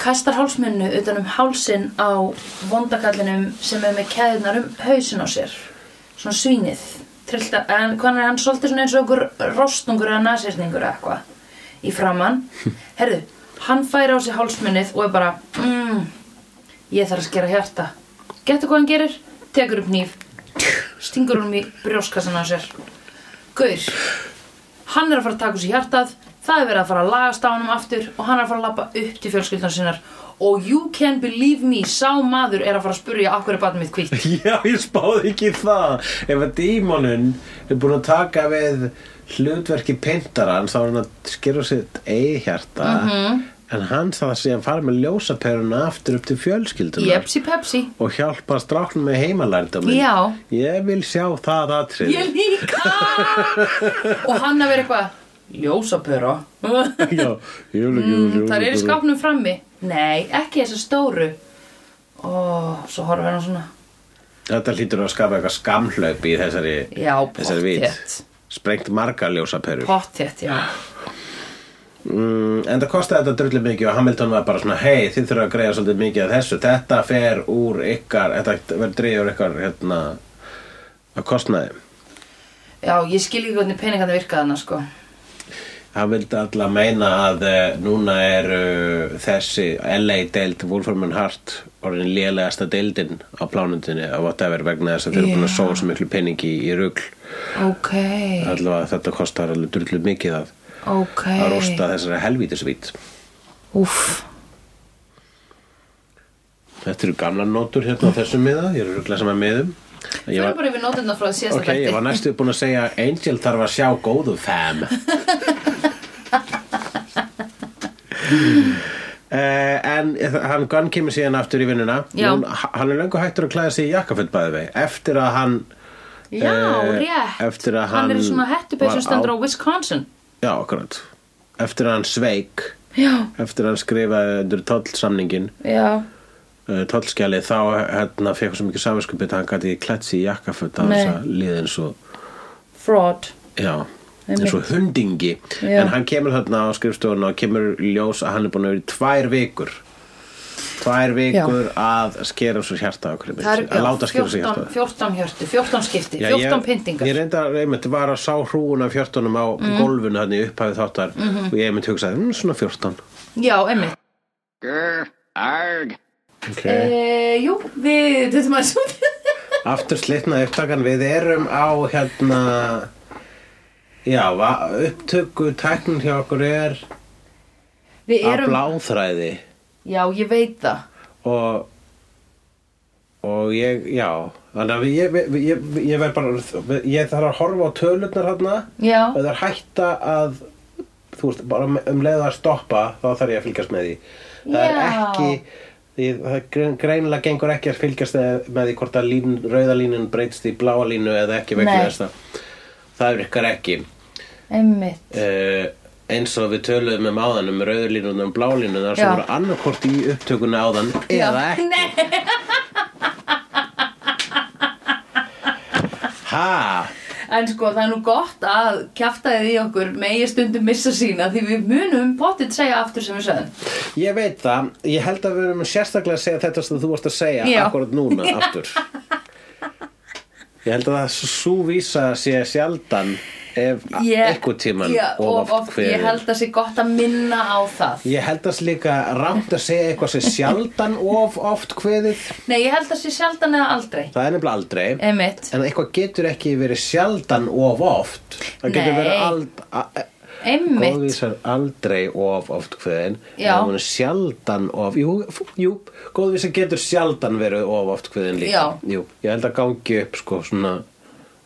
[SPEAKER 1] kastar hálsmennu utan um hálsin á vondakallinum sem er með keðunar um hausin á sér svona svínið Trillta, en hvað er hann svolítið svona eins og okkur rostungur eða nasirningur eða eitthvað í framann herðu, hann fær á sig hálsmennið og er bara mm, ég þarf að skera hjarta getur hvað hann gerir, tekur upp nýf stingur honum í brjóskassan á sér Gaur hann er að fara að taka úr sér hjartað það er verið að fara að lagast á honum aftur og hann er að fara að lappa upp til fjölskyldan sinnar og you can believe me sá maður er að fara að spurja af hverju batnum mitt hvitt
[SPEAKER 2] já, ég spáði ekki það ef að dímoninn er búin að taka við hlutverki pyntaran þá er hann að skera sitt eigi hjarta
[SPEAKER 1] Mhm.
[SPEAKER 2] en hann það sé að fara með ljósaperuna aftur upp til fjölskyldunar
[SPEAKER 1] jepsi pepsi
[SPEAKER 2] og hjálpa stráknum með heimalærdómin
[SPEAKER 1] Já.
[SPEAKER 2] ég vil sjá það atrið
[SPEAKER 1] ég líka og hann að vera eitthvað ljósapöra
[SPEAKER 2] já, ég vil ekki
[SPEAKER 1] mm, þar er í skápnum frammi nei, ekki þessa stóru og svo horfum við hann svona
[SPEAKER 2] Þetta hlýtur að skapa eitthvað skamhlaup í þessari,
[SPEAKER 1] Já,
[SPEAKER 2] þessari vít.
[SPEAKER 1] pottþétt.
[SPEAKER 2] Sprengt marga ljósaperu.
[SPEAKER 1] pottjett, já
[SPEAKER 2] Mm, en það kostaði þetta drullu mikið og Hamilton var bara svona, hei, þið þurfa að greiða svolítið mikið af þessu. Þetta fer úr ykkar, þetta verður dreigur ykkar hérna að kostnaði.
[SPEAKER 1] já, ég skil ekki hvernig peningarnir virkaði hann sko
[SPEAKER 2] Hann vildi alla meina að uh, núna er uh, þessi LA-deild Wolfram and Hart orðin lélegasta deildin á plánundinni að whatever vegna þess að þeir eru búin
[SPEAKER 1] Já.
[SPEAKER 2] að sóa svo miklu peningi í rugl.
[SPEAKER 1] ok,
[SPEAKER 2] Allavega þetta kostar alveg drullu mikið að
[SPEAKER 1] ok
[SPEAKER 2] að rosta þessari helvítisvít
[SPEAKER 1] Úff,
[SPEAKER 2] Þetta eru gamla nótur hérna á þessum miða ég er rugglað saman miðum
[SPEAKER 1] við
[SPEAKER 2] ég
[SPEAKER 1] erum
[SPEAKER 2] var,
[SPEAKER 1] bara yfir nótundar frá því síðasta
[SPEAKER 2] Ok, ég
[SPEAKER 1] þætti.
[SPEAKER 2] var næstu búin að segja Angel þarf að sjá góðu fam Uh, en hann Gunn kemur síðan aftur í vinnuna
[SPEAKER 1] Já.
[SPEAKER 2] Nún- h- hann er löngu hættur að klæða sig í jakkaföld bæði vei eftir að hann
[SPEAKER 1] Já,
[SPEAKER 2] eh,
[SPEAKER 1] rétt
[SPEAKER 2] eftir að
[SPEAKER 1] Hann er í svona hettupeysu
[SPEAKER 2] var
[SPEAKER 1] sem stendur á Wisconsin
[SPEAKER 2] já, akkurat eftir að hann sveik
[SPEAKER 1] Já,
[SPEAKER 2] eftir að hann skrifaði undir tollsamningin
[SPEAKER 1] já,
[SPEAKER 2] tollskjali Eh, þá hérna fekk svo mikið safiskupið að hann gæti klætt sér í jakkaföt að
[SPEAKER 1] Nei.
[SPEAKER 2] þess að liða eins og
[SPEAKER 1] fraud
[SPEAKER 2] já,
[SPEAKER 1] Einmitt.
[SPEAKER 2] eins og hundingi
[SPEAKER 1] Já.
[SPEAKER 2] en hann kemur þarna á skrifstofuna og kemur í ljós að hann er búin að vera í tvær vikur tvær vikur að skera svo hjarta á hverju
[SPEAKER 1] Það
[SPEAKER 2] minnsi
[SPEAKER 1] er
[SPEAKER 2] að láta skera svo
[SPEAKER 1] 14,
[SPEAKER 2] hjarta
[SPEAKER 1] 14 hjörtu, 14 skipti, 14
[SPEAKER 2] ég,
[SPEAKER 1] pyntingar Mhm.
[SPEAKER 2] ég reynda einmitt var að sá hrúun af hjörtunum á gólfinu hann í upphæðu þáttar og ég einmitt hugsaði, mm, svona 14
[SPEAKER 1] Já, emmi
[SPEAKER 3] Grr, arg.
[SPEAKER 2] okay.
[SPEAKER 1] e, Jú, við, þetta maður svo
[SPEAKER 2] Aftur slitna upptakan, við erum á hérna Já, va- upptöku tæknin hjá okkur er
[SPEAKER 1] Við
[SPEAKER 2] að
[SPEAKER 1] erum,
[SPEAKER 2] bláþræði
[SPEAKER 1] já, ég veit það
[SPEAKER 2] og og ég, já þannig að ég, ég, ég, ég verð bara ég þarf að horfa á tölurnar hérna
[SPEAKER 1] Já,
[SPEAKER 2] og það er hætta að þú veist, bara um leiða að stoppa þá þarf ég að fylgjast með því það er
[SPEAKER 1] Já.
[SPEAKER 2] ekki því, það grein- greinilega gengur ekki að fylgjast eð- með því hvort að lín, rauða línun breytst í bláa línu eða ekki vegna
[SPEAKER 1] Nei.
[SPEAKER 2] þess að það er ykkar ekki
[SPEAKER 1] emmi
[SPEAKER 2] uh, eins og við töluðum um áðan um rauða línun og bláa línun þar sem
[SPEAKER 1] Já.
[SPEAKER 2] voru annarkort í upptökuna áðan eða ekki
[SPEAKER 1] Nei,
[SPEAKER 2] ha,
[SPEAKER 1] en sko það er nú gott að kjaftaðið í okkur megi stundum missa sína því við munum pottit segja aftur sem við sögum
[SPEAKER 2] ég veit það ég held að við erum sérstaklega að segja þetta sem þú vorst að segja
[SPEAKER 1] Já.
[SPEAKER 2] akkurat núna aftur ég held að það svo vísa sé sjaldan ef yeah. eitthvað tíman
[SPEAKER 1] já, og oft
[SPEAKER 2] kveðið.
[SPEAKER 1] ég held að sé gott að minna á það
[SPEAKER 2] Ég held að líka rámt að segja eitthvað sem sjaldan of oft kveðið
[SPEAKER 1] nei, ég held að sé sjaldan eða aldrei
[SPEAKER 2] það er nefnilega aldrei
[SPEAKER 1] einmitt,
[SPEAKER 2] en eitthvað getur ekki verið sjaldan of oft það getur
[SPEAKER 1] Nei.
[SPEAKER 2] verið ald, a,
[SPEAKER 1] einmitt
[SPEAKER 2] Góðvísar aldrei of oft kveðin
[SPEAKER 1] Já.
[SPEAKER 2] en hún er sjaldan of jú, f- jú, góðvísar getur sjaldan verið of oft kveðin líka
[SPEAKER 1] Já.
[SPEAKER 2] jú, ég held að gangi upp sko svona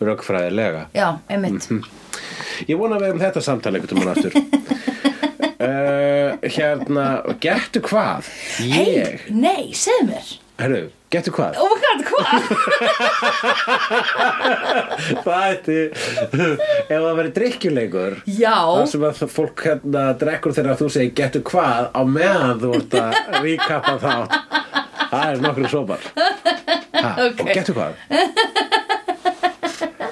[SPEAKER 2] röggfræðilega
[SPEAKER 1] já, einmitt
[SPEAKER 2] Mhm. ég vona að við um þetta samtali einhvern tímann aftur uh, hérna, gettu hvað? Ég,
[SPEAKER 1] Hey, nei, segðu mér
[SPEAKER 2] herru, gettu hvað?
[SPEAKER 1] Oh my god, hvað?
[SPEAKER 2] Það ætti, ef það verið drikkjuleikur
[SPEAKER 1] Já,
[SPEAKER 2] Það sem að fólk hérna drekkur þegar þú segir getur hvað á meðan þú ert að ríkappa þátt Það er nokkru sopar ha, Og
[SPEAKER 1] Ok.
[SPEAKER 2] getur hvað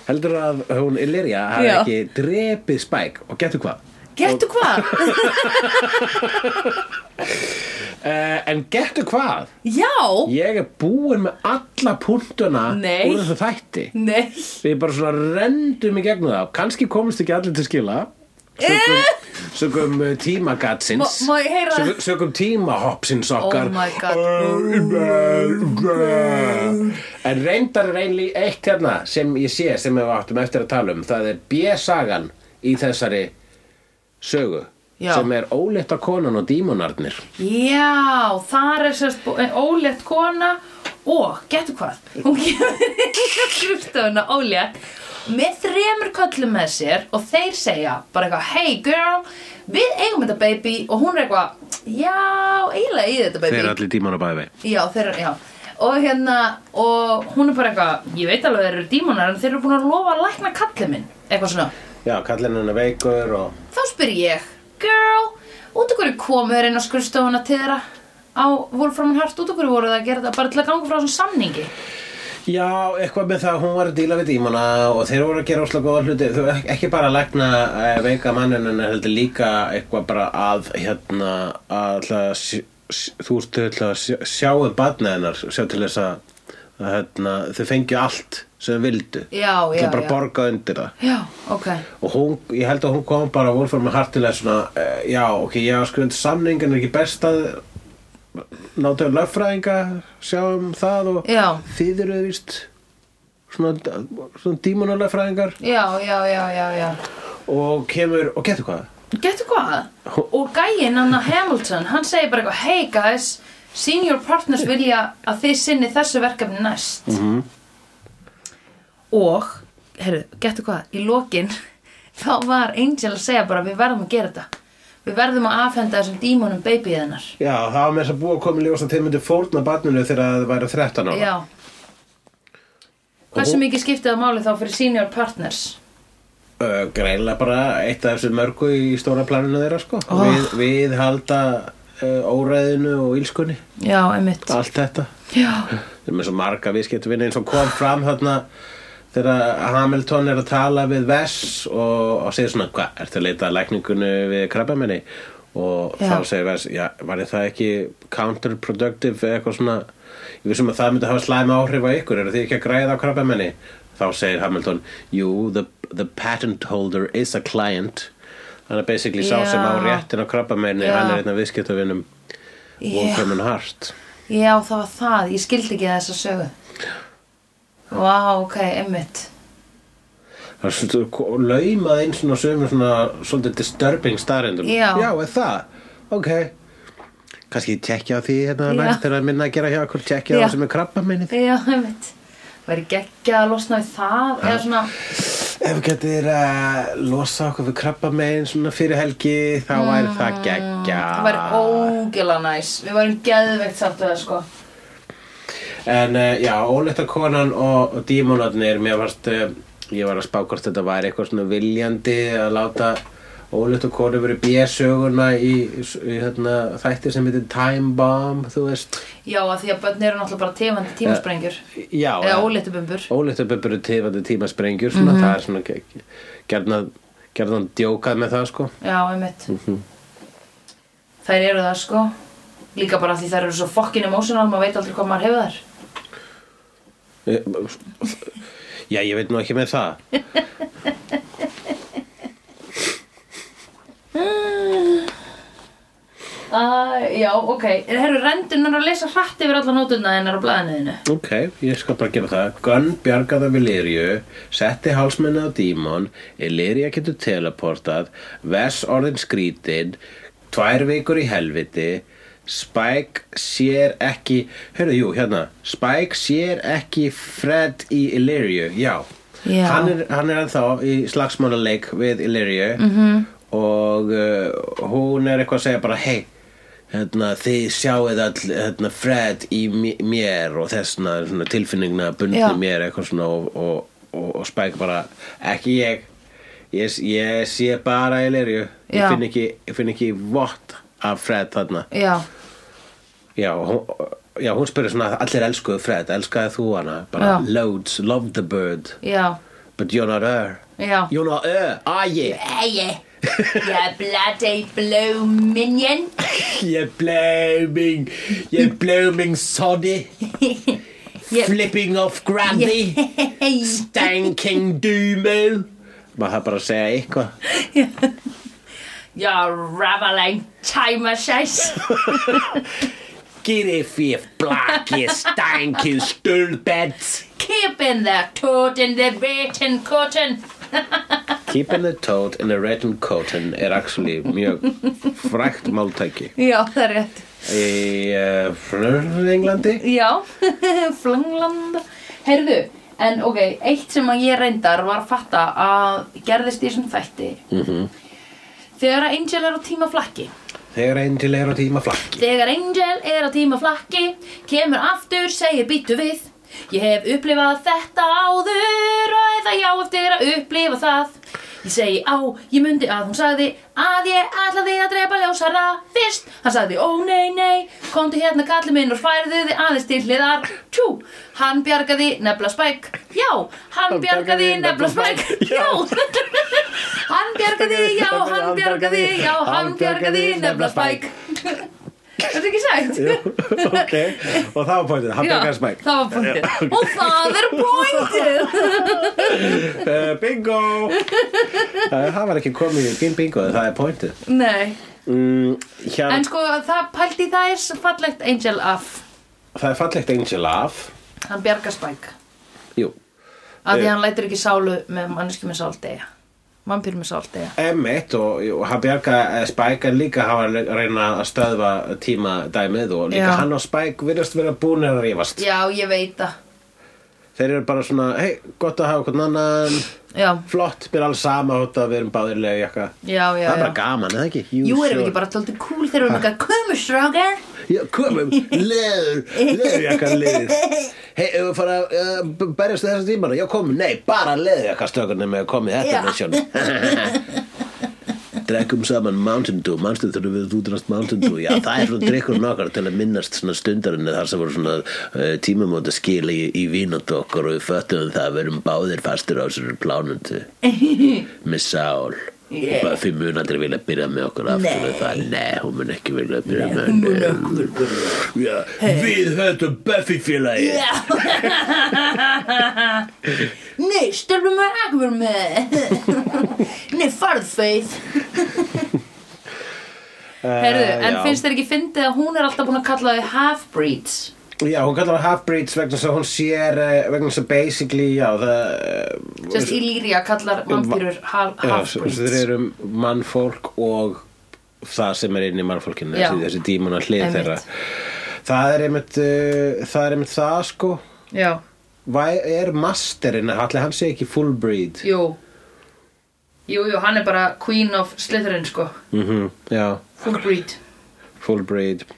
[SPEAKER 2] Heldur að hún Illyria hafi
[SPEAKER 1] Já.
[SPEAKER 2] ekki drepið Spike og getur hvað
[SPEAKER 1] getur hvað?
[SPEAKER 2] uh, En getur hvað
[SPEAKER 1] Já,
[SPEAKER 2] Ég er búinn með alla punktuna
[SPEAKER 1] Nei.
[SPEAKER 2] úr þessu þætti
[SPEAKER 1] nei
[SPEAKER 2] Við bara svona rendum í gegnum það Kanski komumst ekki allir til skila
[SPEAKER 1] Eh?
[SPEAKER 2] Sökum, sökum uh, tímagatsins
[SPEAKER 1] Má- má ég heyra?
[SPEAKER 2] Sökum, sökum tímahoppsins okkar Eh,
[SPEAKER 1] Oh my god.
[SPEAKER 2] En reyndar er einli eitt hérna sem ég sé sem við áttum eftir að tala um Það er B-sagan í þessari sögu
[SPEAKER 1] Já.
[SPEAKER 2] sem er ólétta konan og dímonarnir
[SPEAKER 1] Já, þar er sérst bú- eh, ólétt kona og getur hvað? Hún kemur inn á skrifstofuna ólétt með þremur köllum með sér og þeir segja bara eitthvað Hey girl, við eigum þetta baby og hún er eitthvað Já, eiginlega í þetta baby
[SPEAKER 2] Þeir eru allir dímon á bæði vei
[SPEAKER 1] Já, þeir eru, já Og hérna, og hún er bara eitthvað Ég veit alveg þeir eru dímonar en þeir eru búin að lofa að lækna kallið minn Eitthvað svona
[SPEAKER 2] Já, kallinn hennar veikur og
[SPEAKER 1] Þá spyr ég, girl, út af hverju komu þeir inn á skurðstofuna til þeirra á Wolfram Hart, út af hverju voru það að gera þetta bara til að ganga frá þessum samningi?
[SPEAKER 2] Já, eitthvað með það að hún var að díla við dímona og þeir voru að gera óslega góða hluti þú, ek- ekki bara að lækna e, veika manninn en heldur líka eitthvað bara að hérna að ætla að sj- sj- þú ert til að sj- sjáu barnið hennar sjá til þess að, að hérna, þau fengju allt sem þau vildu
[SPEAKER 1] Já,
[SPEAKER 2] Ætla
[SPEAKER 1] já, já.
[SPEAKER 2] bara að borga undir það
[SPEAKER 1] Já, ok.
[SPEAKER 2] og hún, ég held að hún kom bara Wolfram með hartilega svona uh, já, ok, ég hafa skrifin samning en er ekki best að náttúrulega lögfræðinga sjá um það og
[SPEAKER 1] Já,
[SPEAKER 2] þið eru vist svona, svona dímonalagfræðingar
[SPEAKER 1] já, já, já, já, já.
[SPEAKER 2] og kemur, og getur hvað?
[SPEAKER 1] Getur hvað? Og gæinn hann að Hamilton, hann segir bara eitthvað, hey guys, senior partners vilja að þið sinni þessu verkefni næst. -hmm. Og, herru, getur hvað, í lokin, þá var Angel að segja bara, við verðum að gera þetta. Við verðum að afhenda þessum dímonum babyið hennar.
[SPEAKER 2] Já, það var með þess að búa að koma í ljós að þeir myndu fórna barninu þegar það væri 13 ára
[SPEAKER 1] Já Hversu
[SPEAKER 2] Og-
[SPEAKER 1] mikið skiptið það máli þá fyrir senior partners?
[SPEAKER 2] uh, Greinlega bara eitt af þessu mörgu í stóra planinu þeirra sko
[SPEAKER 1] Oh.
[SPEAKER 2] við, við halda uh, óræðinu og ílskunni
[SPEAKER 1] Já, einmitt
[SPEAKER 2] allt þetta
[SPEAKER 1] Já,
[SPEAKER 2] þeir eru með svo marga viðskiptvinni eins og kom fram þarna þegar Hamilton er að tala við Vess og, og segir svona, hvað, ertu að leita að lækningunni við krabbamenni og
[SPEAKER 1] Já.
[SPEAKER 2] þá segir Vess, já, var það ekki counterproductive eða eitthvað svona ég vissum að það myndi hafa slæma áhrif á ykkur eru þið ekki að græða á krabbamenni þá segir Hamilton, jú, the, the patent holder is a client hann er basically sá
[SPEAKER 1] Já.
[SPEAKER 2] sem á réttin á krabbamenni,
[SPEAKER 1] Já.
[SPEAKER 2] hann er einn af viðskiptavinnum
[SPEAKER 1] já,
[SPEAKER 2] Wolfram and Hart
[SPEAKER 1] já, það var það Ég skildi ekki þessa sögu Vá, ok, einmitt
[SPEAKER 2] Það er svolítið laumað inn svona sömur svona svolítið disturbing starrendum.
[SPEAKER 1] Já.
[SPEAKER 2] Já, er það? Ok. Kannski tekja á því hérna
[SPEAKER 1] Já.
[SPEAKER 2] nætt þegar að minna að gera hjá okkur, tekja á
[SPEAKER 1] Já.
[SPEAKER 2] það sem er krabba minni.
[SPEAKER 1] Já, einmitt Væri geggjað að losna við það Eða svona,
[SPEAKER 2] Ef við getur að losa okkur við krabba megin svona fyrir helgi, þá væri það geggja.
[SPEAKER 1] það Ah, væri ógjöla næs Við værum geðveikt sátt við það, sko
[SPEAKER 2] En uh, já, ólétta konan og, og dímonarnir, mér varst, uh, ég var að spá hvort þetta væri eitthvað svona viljandi að láta ólétta konu verið bjössöguna í, í hérna, þætti sem heitir Time Bomb, þú veist.
[SPEAKER 1] Já, að því að börn eru náttúrulega bara tefandi tímasprengjur
[SPEAKER 2] Eh. Já,
[SPEAKER 1] Eða óléttubumbur
[SPEAKER 2] ólétta bubbur tifandi tímasprengjur, svona, það er svona ge- ge- gjarnan, gjarnan djókað með það, sko.
[SPEAKER 1] Já, einmitt Þær eru það sko Líka bara því þær eru svo fokkin emotional maður veit aldrei hvað maður hefur þær
[SPEAKER 2] Eh, Já, ég veit nú ekki með það.
[SPEAKER 1] Ah. uh, Já, ok En herru, rendun er að lesa hratt yfir alla nótuna hennar á blaðinuðinu
[SPEAKER 2] Ok, ég skal bara gera það. Gunn bjargaði við Lirju, setti hálsmenni á dímon, Lirja getur teleportað, Vess orðin skrítinn, tvær vikur í helviti, Spike sér ekki, heyrðu, jú, hérna, Spike sér ekki Fred í Illyriu, já.
[SPEAKER 1] Já. Mhm.
[SPEAKER 2] Hann er, hann er ennþá í slagsmánaleik við Illyriu mm -hmm. og uh, hún er eitthvað að segja bara hei hérna, þið sjáið all hérna, Fred í mi- mér og þessna svona, tilfinningna
[SPEAKER 1] Já.
[SPEAKER 2] bundið mér eitthvað svona og, og, og, og Spike bara ekki ég ég, ég sé bara í lirju ég
[SPEAKER 1] Já.
[SPEAKER 2] finn ekki, ég finn ekki vott af Fred þarna
[SPEAKER 1] já,
[SPEAKER 2] Já, hún, já, hún spyrir svona allir elskuðu Fred, elskaði þú hana bara
[SPEAKER 1] Já.
[SPEAKER 2] loads, love the bird
[SPEAKER 1] já,
[SPEAKER 2] but you're not her
[SPEAKER 1] já
[SPEAKER 2] you're not her, are you?
[SPEAKER 1] Æi, ég bloody blue minion
[SPEAKER 2] you're blooming you're blooming soddy
[SPEAKER 1] Ég-
[SPEAKER 2] flipping off granny stanking doomu maður það bara að segja eitthvað
[SPEAKER 1] You're raveling timer size
[SPEAKER 2] get if you black you stanking stulbeds
[SPEAKER 1] Keeping the toad in the waiting cotton
[SPEAKER 2] keeping the toad in a redden cotton er actually mjög frækt máltæki
[SPEAKER 1] Já, það er rétt
[SPEAKER 2] í uh, Fröðinglandi
[SPEAKER 1] Já, flanglanda Heyrðu, en ok, eitt sem að ég reyndar var að fatta að gerðist í þessum þætti -hmm. Þegar að Angel er á tímaflakki
[SPEAKER 2] þegar einn til er á tíma flakki
[SPEAKER 1] Þegar Angel er á tímaflakki Kemur aftur, segir býtu við Ég hef upplifað þetta áður Og eða já eftir að upplifa það Ég segi á, ég mundi að hún sagði Að ég ætlaði að drepa ljósara fyrst Hann sagði ó nei nei Komdu hérna kalli minn og færðu þið aðeins til hliðar Tjú, hann bjargaði nefla spæk Já, hann bjargaði nefla spæk Já, hann bjargaði, já, hann bjargaði Já, hann bjargaði nefla spæk Er það ekki sagt?
[SPEAKER 2] ok, og það var pointið, hann
[SPEAKER 1] Já,
[SPEAKER 2] bjargaði Spike
[SPEAKER 1] það var pointið Og það er pointið
[SPEAKER 2] uh, bingo uh, það var ekki komið í bing bingo það er pointið
[SPEAKER 1] Nei,
[SPEAKER 2] mm, hérna,
[SPEAKER 1] en sko það pælti það er svo fallegt Angel af
[SPEAKER 2] það er fallegt Angel af
[SPEAKER 1] Hann bjargar Spike
[SPEAKER 2] jú,
[SPEAKER 1] Af því
[SPEAKER 2] Eh.
[SPEAKER 1] hann lætur ekki sálu með manneski með sáldega Vampýr með sáldega
[SPEAKER 2] M1 og, og hann bjargaði eh, Spike en líka hann var að reyna að stöðva tíma dæmið og líka
[SPEAKER 1] Já.
[SPEAKER 2] hann og Spike virðast vera búin að rífast
[SPEAKER 1] Já, ég veit það
[SPEAKER 2] þeir eru bara svona, hei, gott að hafa hvern annan
[SPEAKER 1] Já,
[SPEAKER 2] flott, mér er alveg sama hótt að við erum báðir lega jakka
[SPEAKER 1] já, já,
[SPEAKER 2] það er
[SPEAKER 1] já.
[SPEAKER 2] bara gaman, eða ekki?
[SPEAKER 1] Jú, erum við ekki bara tóltið cool þegar við erum eitthvað Komu, strákar
[SPEAKER 2] Já, komum, leður, leður jakka liðið Hei, ef við fara að uh, b- berjast þessar tímana, já komum, nei, bara leður jakka stökunni með að komið þetta
[SPEAKER 1] Já.
[SPEAKER 2] með Drekkum saman Mountain Dew, manstu þurfum við að útrast Mountain Dew Já, það er svona drikkurinn okkar til að minnast svona stundarinni þar sem voru svona uh, tímamóta skil í, í vínat okkar og við föttum það að við erum báðir fastur á þessari plánundu með sál
[SPEAKER 1] Yeah.
[SPEAKER 2] Buffy mun aldrei vilja byrja með okkur aftur
[SPEAKER 1] Nei.
[SPEAKER 2] og það, nei, hún mun ekki vilja byrja með
[SPEAKER 1] hún mun
[SPEAKER 2] okkur Já, við höfum Buffy félagi
[SPEAKER 1] Já Nei, stelum við ekki verið með Nei, farð feið Herðu, en
[SPEAKER 2] Eh, já.
[SPEAKER 1] finnst þér ekki fyndið að hún er alltaf búin að kalla þau half-breeds
[SPEAKER 2] Já, hún kallar hann half-breeds vegna þess að hún sér eh, vegna þess að basically, já, það eh,
[SPEAKER 1] Sérst Illyria kallar vampýrur
[SPEAKER 2] half-breeds Þeir
[SPEAKER 1] half-breeds
[SPEAKER 2] eru mannfólk og það sem er inn í mannfólkinu
[SPEAKER 1] Já.
[SPEAKER 2] þessi, þessi dímona hlið
[SPEAKER 1] Einmitt.
[SPEAKER 2] þeirra Það er einmitt uh, það er einmitt það, sko
[SPEAKER 1] Já,
[SPEAKER 2] Væ, er masterinn, allir hann sé ekki full breed
[SPEAKER 1] jú Jú, jú, hann er bara queen of Slytherin, sko
[SPEAKER 2] mm Já
[SPEAKER 1] Full breed
[SPEAKER 2] full-breed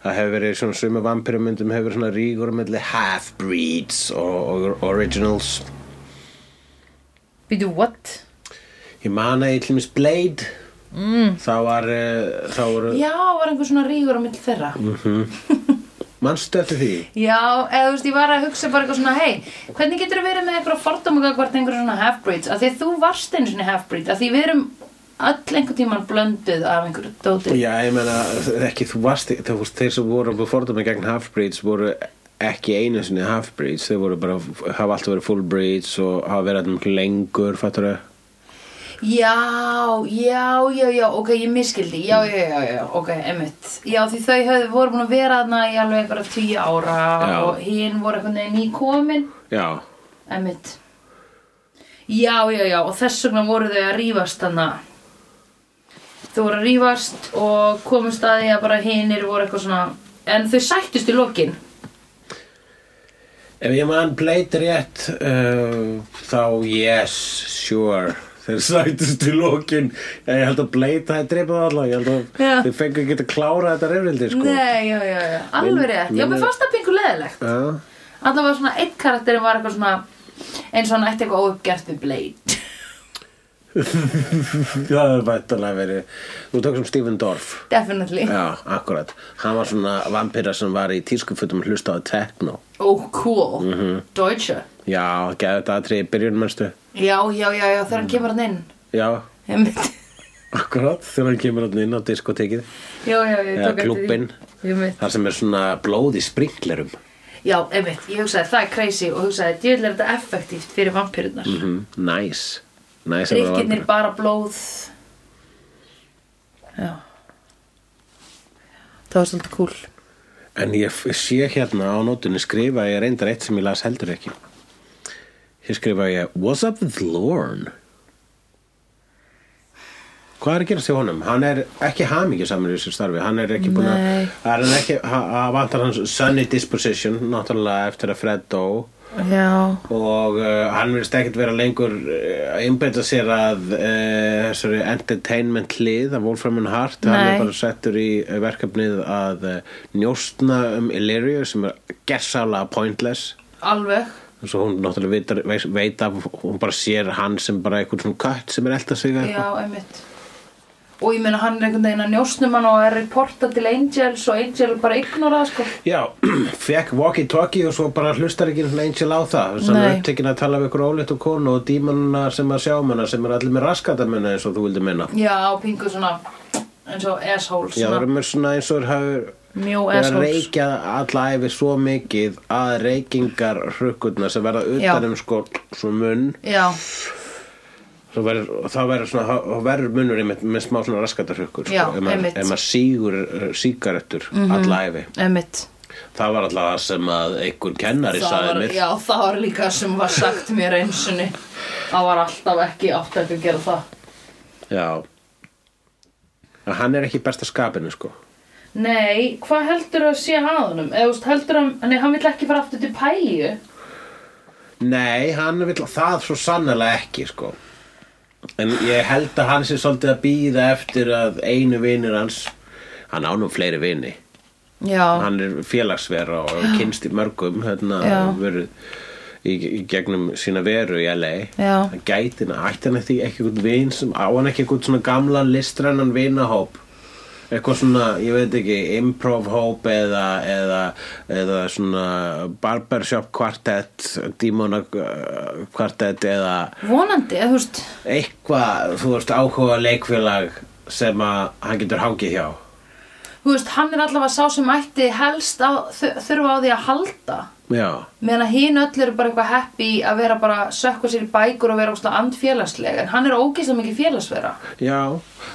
[SPEAKER 2] það hefur verið svona sömu vampirumyndum hefur verið svona rígur melli half-breeds og, og originals
[SPEAKER 1] Býtu, what?
[SPEAKER 2] ég man að ég til tlýmis Blade mm. þá var eh, þá voru,
[SPEAKER 1] Já, var einhver svona rígur á milli þeirra
[SPEAKER 2] manstu eftir því
[SPEAKER 1] Já, eða þú veist, ég var að hugsa bara eitthvað svona, hei, hvernig getur verið með eitthvað fordómuga hvert einhver svona half-breeds? Af því að þú varst einu svona half-breed, af því við erum öll einhvern tíman blönduð af einhverju dóti.
[SPEAKER 2] já ég meina ekki þú varst þú veist þeir sem voru að fordóma gegn half-breeds voru ekki einu sinni half-breeds þeir voru bara hafa alltaf verið full-breeds og hafa verið alltaf miklu lengur fattur þau
[SPEAKER 1] Já, já, já, já, ok, ég miskildi, já, já, já, já, ok, emmitt. Já, því þau höfðu, voru búin að vera þarna í alveg einhverja tíu ára
[SPEAKER 2] Já.
[SPEAKER 1] og hinn voru einhvern veginn nýkomin,
[SPEAKER 2] já
[SPEAKER 1] emmitt. Já, já, já, og þess vegna voru þau að rífast þarna. Þau voru að rífast og komust að því að bara hinnir voru eitthvað svona, en þau sættust í lokin.
[SPEAKER 2] Ef ég man Blade rétt uh, þá yes, sure Þe- þeir sættust í lokin ég held að bleita það dreipað alla ég held að
[SPEAKER 1] Já.
[SPEAKER 2] þeir fengu ekki að klára þetta reyfrildi sko
[SPEAKER 1] Nei, já, já, já, alveg
[SPEAKER 2] Minn-
[SPEAKER 1] rétt Já, mér
[SPEAKER 2] minnir-
[SPEAKER 1] fannst það pingu leðilegt
[SPEAKER 2] Já.
[SPEAKER 1] Alla var svona, einn karakterin var eitthvað svona eins og hann ætti eitthvað óuppgert við Blade
[SPEAKER 2] það er væntanlega verið þú tók sem Stephen Dorff
[SPEAKER 1] Definitely
[SPEAKER 2] já, akkurat hann var svona vampýra sem var í tískufutum og hlustaði á techno
[SPEAKER 1] Oh, cool
[SPEAKER 2] Mhm.
[SPEAKER 1] Deutsche
[SPEAKER 2] já, geði þetta aðtrið í byrjun mennstu
[SPEAKER 1] Já, já, já, já, þegar
[SPEAKER 2] Mhm.
[SPEAKER 1] hann kemur hann inn
[SPEAKER 2] já,
[SPEAKER 1] Einmitt.
[SPEAKER 2] akkurat þegar hann kemur hann inn á diskotekið
[SPEAKER 1] Já, já, já, ég
[SPEAKER 2] eða
[SPEAKER 1] tók eftir því.
[SPEAKER 2] klúbin
[SPEAKER 1] Einmitt.
[SPEAKER 2] þar sem er svona blóð í sprinklerum
[SPEAKER 1] Já, einmitt, ég hugsaði það er crazy og hugsaði, djöðlega er þetta effektíft fyrir vampirinnar mm
[SPEAKER 2] mm, nice nice að vera
[SPEAKER 1] Rikkinir
[SPEAKER 2] vampíra.
[SPEAKER 1] bara blóð Já Það var svolítið cool
[SPEAKER 2] en ég f- sé hérna á nótunni skrifa ég reyndar eitt sem ég las heldur ekki hér skrifa ég what's up with Lorne hvað er að gerast hjá honum hann er ekki hamingi saman í þessu starfi hann er ekki búin
[SPEAKER 1] Nei.
[SPEAKER 2] að hann er ekki að vantar hans sunny disposition náttúrulega eftir að Fred dó
[SPEAKER 1] Já,
[SPEAKER 2] og uh, hann verðist ekkert vera lengur uh, að einbeita sér að uh, þessari entertainment hlið að Wolfram and Hart hann
[SPEAKER 1] Nei.
[SPEAKER 2] er bara settur í uh, verkefnið að uh, njóstna um Illyrio sem er gersalega pointless
[SPEAKER 1] alveg
[SPEAKER 2] svo hún náttúrulega vitar, veis, veit að hún bara sér hann sem bara eitthvað svona kött sem er elda sig eða eitthvað.
[SPEAKER 1] Já, einmitt Og ég meina hann er einhvern veginn að njósnum hann og er reporta til Angels og Angel bara ignora það sko
[SPEAKER 2] Já, fekk walkie-talkie og svo bara hlustar ekki einhvern angel á það sem er
[SPEAKER 1] Nei.
[SPEAKER 2] upptekinn að tala við ykkur ólétt og konu og dímanuna sem að sjá menna sem er allir með raskatamunna eins og þú vildi minna
[SPEAKER 1] Já, pingu svona eins og assholes
[SPEAKER 2] Já, það
[SPEAKER 1] svona.
[SPEAKER 2] eru mér svona eins og hafur
[SPEAKER 1] Mjó
[SPEAKER 2] Ég er að
[SPEAKER 1] assholes
[SPEAKER 2] reykja alla æfi svo mikið að reykingar hrukkurna sem verða utan
[SPEAKER 1] Já.
[SPEAKER 2] um sko svo munn
[SPEAKER 1] Já,
[SPEAKER 2] svo verður, og þá verður, svona, þá verður munnur einmitt með smá svona raskata hrukkur sko.
[SPEAKER 1] Já,
[SPEAKER 2] ef maður-
[SPEAKER 1] einmitt. Mhm.
[SPEAKER 2] ef maður sígur eh, sígarettur mm alla æfi
[SPEAKER 1] einmitt
[SPEAKER 2] það var alltaf það sem að einhver kennari
[SPEAKER 1] það
[SPEAKER 2] sagði
[SPEAKER 1] var,
[SPEAKER 2] mér
[SPEAKER 1] já, það var líka sem var sagt mér einsunni það var alltaf ekki átt ekki að gera það
[SPEAKER 2] Já. Að hann er ekki besta skapinu sko
[SPEAKER 1] nei, hvað heldur að sé að honum eða þú veist, heldur að, nei, hann vill ekki fara aftur til pæju
[SPEAKER 2] Nei, hann vil það svo sannlega ekki sko. En ég held að hann sé svolítið að býða eftir að einu vinur hans hann á nú fleiri vini
[SPEAKER 1] já,
[SPEAKER 2] hann er félagsvera og kynst í mörgum hérna,
[SPEAKER 1] Já.
[SPEAKER 2] verið í, í gegnum sína veru í LA
[SPEAKER 1] Já.
[SPEAKER 2] hann gæti hann, ætti hann ekki ekki eitthvað vin sem, á hann ekki eitthvað svona gamla listrannan vinahóp eitthvað svona, ég veit ekki, improv hóp eða, eða, eða svona barbershop kvartett dímona uh, kvartett eða
[SPEAKER 1] vonandi, eða þú veist
[SPEAKER 2] eitthvað, þú veist, áhuga leikfélag sem að hann getur hangið hjá
[SPEAKER 1] þú veist, hann er allavega sá sem ætti helst á, þu- þurfa á því að halda
[SPEAKER 2] Já,
[SPEAKER 1] meðan að hinn öll eru bara eitthvað happy að vera bara sökka sér í bækur og vera óslega andfélagsleg en hann er ógeðslega mikið félagsvera
[SPEAKER 2] Já,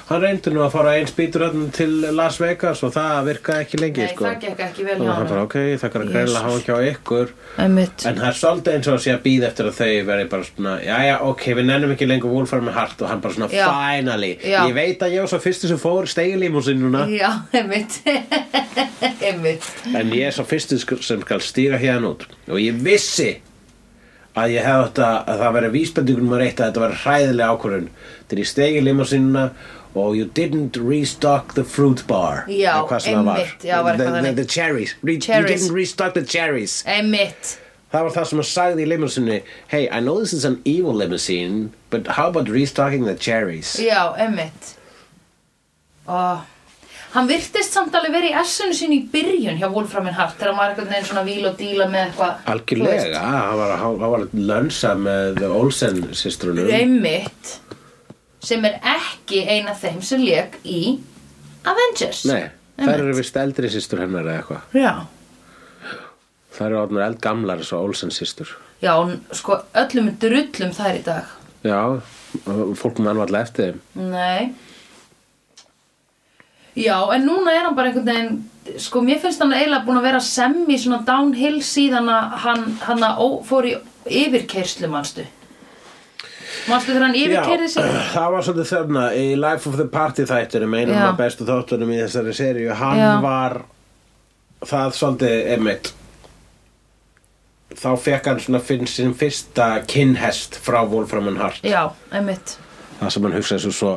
[SPEAKER 2] hann reyndi nú að fara eins bítur hann til Las Vegas og það virkaði ekki lengi
[SPEAKER 1] nei,
[SPEAKER 2] sko.
[SPEAKER 1] það gekk ekki vel
[SPEAKER 2] Og
[SPEAKER 1] hjá
[SPEAKER 2] hann bara,
[SPEAKER 1] hann
[SPEAKER 2] ok, það kann að greila
[SPEAKER 1] Jesus.
[SPEAKER 2] hafa ekki á ykkur
[SPEAKER 1] einmitt,
[SPEAKER 2] En það er svolítið eins og að sé að býða eftir að þau verði bara svona Jæja, ok, við nennum ekki lengur Wolfram með hart og hann bara svona,
[SPEAKER 1] Já.
[SPEAKER 2] finally
[SPEAKER 1] Já.
[SPEAKER 2] Ég veit að ég var svo fyrsti sem fór steigilímúsinuna
[SPEAKER 1] já, einmitt einmitt
[SPEAKER 2] En ég er svo fyrsti sk- sem skal stíga hérna út Og ég vissi að ég hef þetta að það verið vísbendingunum að reyta að þetta var hræðilega ákvörðun Þegar ég steigi limosínuna og you didn't restock the fruit bar
[SPEAKER 1] Já,
[SPEAKER 2] eða hvað sem það var.
[SPEAKER 1] einmitt, já, var eitthvað
[SPEAKER 2] the, the,
[SPEAKER 1] þannig.
[SPEAKER 2] the cherries. Re
[SPEAKER 1] Cherries.
[SPEAKER 2] You didn't restock the cherries
[SPEAKER 1] Einmitt
[SPEAKER 2] Það var það sem að sagði í limosínunni Hey, I know this is an evil limousine but how about restocking the cherries
[SPEAKER 1] Já, einmitt Og Hann virtist samt alveg verið í essinu sínu í byrjun hjá Wolfram and Hart þegar hann var einhvern veginn svona víl og díla með eitthvað þú
[SPEAKER 2] Algjörlega,
[SPEAKER 1] veist.
[SPEAKER 2] hann var, hann var að lönsa með Olsen systrunum
[SPEAKER 1] Einmitt sem er ekki eina þeim sem lék í Avengers
[SPEAKER 2] Nei, það eru vist eldri systur hennar eða eitthvað
[SPEAKER 1] Já
[SPEAKER 2] Það eru orðnur eld gamlar svo Olsen sýstur.
[SPEAKER 1] Já, hún- sko öllum er drullum þær í dag
[SPEAKER 2] Já, fólk mann var alltaf eftir þeim.
[SPEAKER 1] Nei Já, en núna er hann bara einhvern veginn sko, mér finnst hann eiginlega búin að vera semmi svona downhill síðan að hann, hann að ó, fór í yfirkeirslu, manstu Manstu þegar hann yfirkeirði sig
[SPEAKER 2] það var svolítið þarna í Life of the Party þættunum, einum
[SPEAKER 1] Já.
[SPEAKER 2] af bestu þáttunum í þessari seríu, hann
[SPEAKER 1] Já.
[SPEAKER 2] var það svolítið einmitt þá fekk hann svona finn, sin fyrsta kinnhest frá Wolfram and Hart
[SPEAKER 1] Já, einmitt
[SPEAKER 2] það sem hann hugsaði svo svo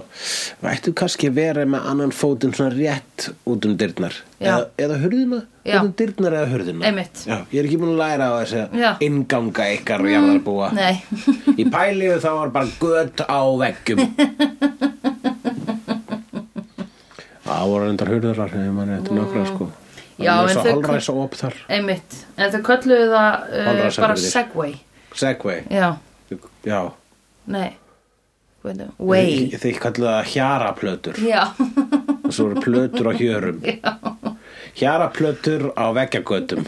[SPEAKER 2] vættu kannski að vera með annan fótinn svona rétt út um dyrnar
[SPEAKER 1] Já.
[SPEAKER 2] eða, eða hurðina,
[SPEAKER 1] Já.
[SPEAKER 2] út um dyrnar eða hurðina
[SPEAKER 1] Einmitt.
[SPEAKER 2] Já, ég er ekki búin að læra á þessi
[SPEAKER 1] Já.
[SPEAKER 2] að inganga ykkar mm. jarðarbúa
[SPEAKER 1] Nei.
[SPEAKER 2] í pæliðu þá var bara gött á veggjum það voru endar hurðarar ef maður er þetta nokkra sko
[SPEAKER 1] Já,
[SPEAKER 2] það er
[SPEAKER 1] en
[SPEAKER 2] svo
[SPEAKER 1] þau-
[SPEAKER 2] holræsa op þar
[SPEAKER 1] Einmitt. En þau kölluðu það uh,
[SPEAKER 2] Holræsa
[SPEAKER 1] bara
[SPEAKER 2] hurðir.
[SPEAKER 1] Segway.
[SPEAKER 2] Segway,
[SPEAKER 1] Já.
[SPEAKER 2] já
[SPEAKER 1] Nei. Hvað er það? Way.
[SPEAKER 2] Þeir- þeir kallu það hjaraplötur
[SPEAKER 1] Já.
[SPEAKER 2] og svo eru plötur á hjörum hjaraplötur á veggjagötum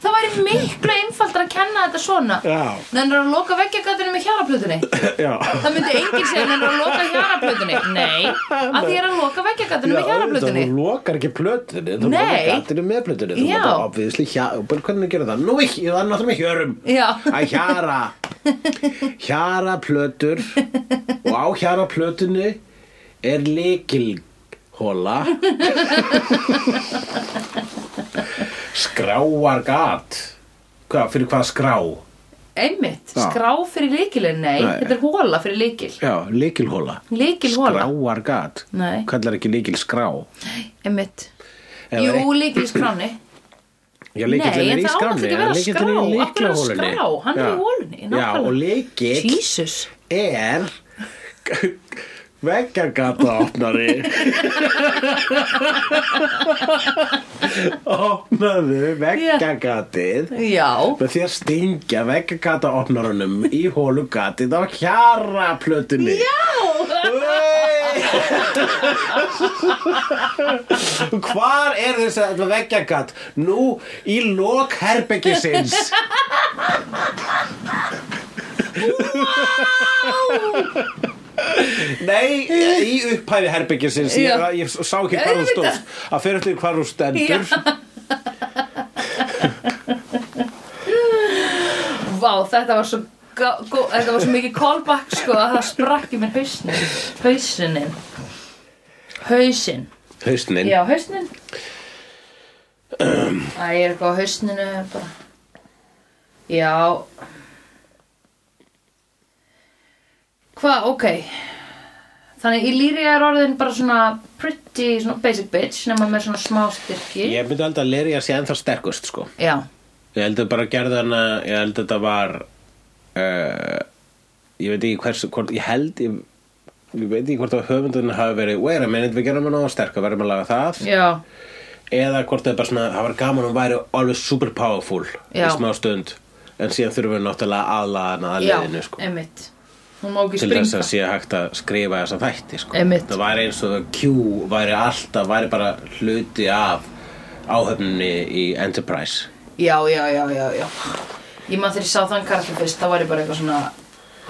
[SPEAKER 1] Það væri miklu einfaldar að kenna þetta svona.
[SPEAKER 2] Já.
[SPEAKER 1] Nennir að loka veggjagatinu með hjáraplutinni.
[SPEAKER 2] já,
[SPEAKER 1] Það myndi enginn segja nennir að loka hjáraplutinni. Nei, að því er að loka veggjagatinu með hjáraplutinni.
[SPEAKER 2] þú lokar ekki plötunni þú
[SPEAKER 1] Nei.
[SPEAKER 2] lokar gatinu með plötunni þú
[SPEAKER 1] Já.
[SPEAKER 2] mátt obviðsli hjara, bara hvernig gerir það nú ekki, það er náttúrulega með hjörum
[SPEAKER 1] Já.
[SPEAKER 2] að hjara hjara plötur og á hjara plötunni er likilhóla skráar gat hvað, fyrir hvað skrá?
[SPEAKER 1] Einmitt,
[SPEAKER 2] Já.
[SPEAKER 1] skrá fyrir líkilin, nei,
[SPEAKER 2] Nei.
[SPEAKER 1] þetta er hóla fyrir líkil.
[SPEAKER 2] já, likilhóla
[SPEAKER 1] Líkilhóla,
[SPEAKER 2] skráar gat
[SPEAKER 1] Nei.
[SPEAKER 2] kallar ekki líkil skrá
[SPEAKER 1] einmitt.
[SPEAKER 2] Eða
[SPEAKER 1] Jú,
[SPEAKER 2] ein-
[SPEAKER 1] líkilskráni. Nei,
[SPEAKER 2] Já, lykillinn er
[SPEAKER 1] en
[SPEAKER 2] í
[SPEAKER 1] það á
[SPEAKER 2] skránni,
[SPEAKER 1] náttúrulega ekki að vera
[SPEAKER 2] lykillinn
[SPEAKER 1] skrá.
[SPEAKER 2] er
[SPEAKER 1] Af hverju er hann
[SPEAKER 2] í lyklaholunni.
[SPEAKER 1] skrá? Hann er
[SPEAKER 2] Já.
[SPEAKER 1] í holunni,
[SPEAKER 2] Já,
[SPEAKER 1] nákvæmlega.
[SPEAKER 2] og lykill
[SPEAKER 1] Jesus.
[SPEAKER 2] er veggagata opnari Opnaðu veggagatið
[SPEAKER 1] Já,
[SPEAKER 2] með því að stingja veggagata opnarunum í hólugatið á hjaraplötunni
[SPEAKER 1] já,
[SPEAKER 2] Hey! Hvar er þess að þetta veggjagat? Nú í lok herbeggisins Nei, í upphæfi herbeggisins ég,
[SPEAKER 1] Já.
[SPEAKER 2] ég sá ekki hvar hún
[SPEAKER 1] Auðvitað.
[SPEAKER 2] stóð að fyrir eftir hvar hún
[SPEAKER 1] Já.
[SPEAKER 2] stendur
[SPEAKER 1] vá, þetta var svo, gó, gó, þetta var svo mikið callback sko að það sprakk í mér hausnin, hausinin, hausin,
[SPEAKER 2] Hausnin
[SPEAKER 1] já, hausnin. Æ, ég er eitthvað á hausninu bara, já, hvað, ok, þannig í lýri er orðin bara svona pretty, svona basic bitch, nema með svona smá styrki,
[SPEAKER 2] Ég myndi aldrei að leri að sé ennþá sterkust sko
[SPEAKER 1] já,
[SPEAKER 2] Ég held að bara gerði hana Ég held að þetta var uh, Ég veit ekki hversu hvort, Ég held ég, ég veit ekki hvort að höfundun hafi verið Wait a minute, við gerum hana á sterka Verðum að laga það
[SPEAKER 1] já,
[SPEAKER 2] Eða hvort það er bara svona Það var gaman að hún væri alveg super powerful
[SPEAKER 1] Já.
[SPEAKER 2] Í smá stund En síðan þurfum við náttúrulega aðlaga hana að
[SPEAKER 1] já,
[SPEAKER 2] liðinu sko.
[SPEAKER 1] einmitt hún má ekki
[SPEAKER 2] Til þess
[SPEAKER 1] springa
[SPEAKER 2] að sé hægt að skrifa þessa þætti sko.
[SPEAKER 1] Einmitt.
[SPEAKER 2] Það væri eins og Q væri alltaf Væri bara hluti af Áhöfninni í Enterprise
[SPEAKER 1] já, já, já, já, já ég man þegar ég sá þann karakter fyrst þá var ég bara eitthvað svona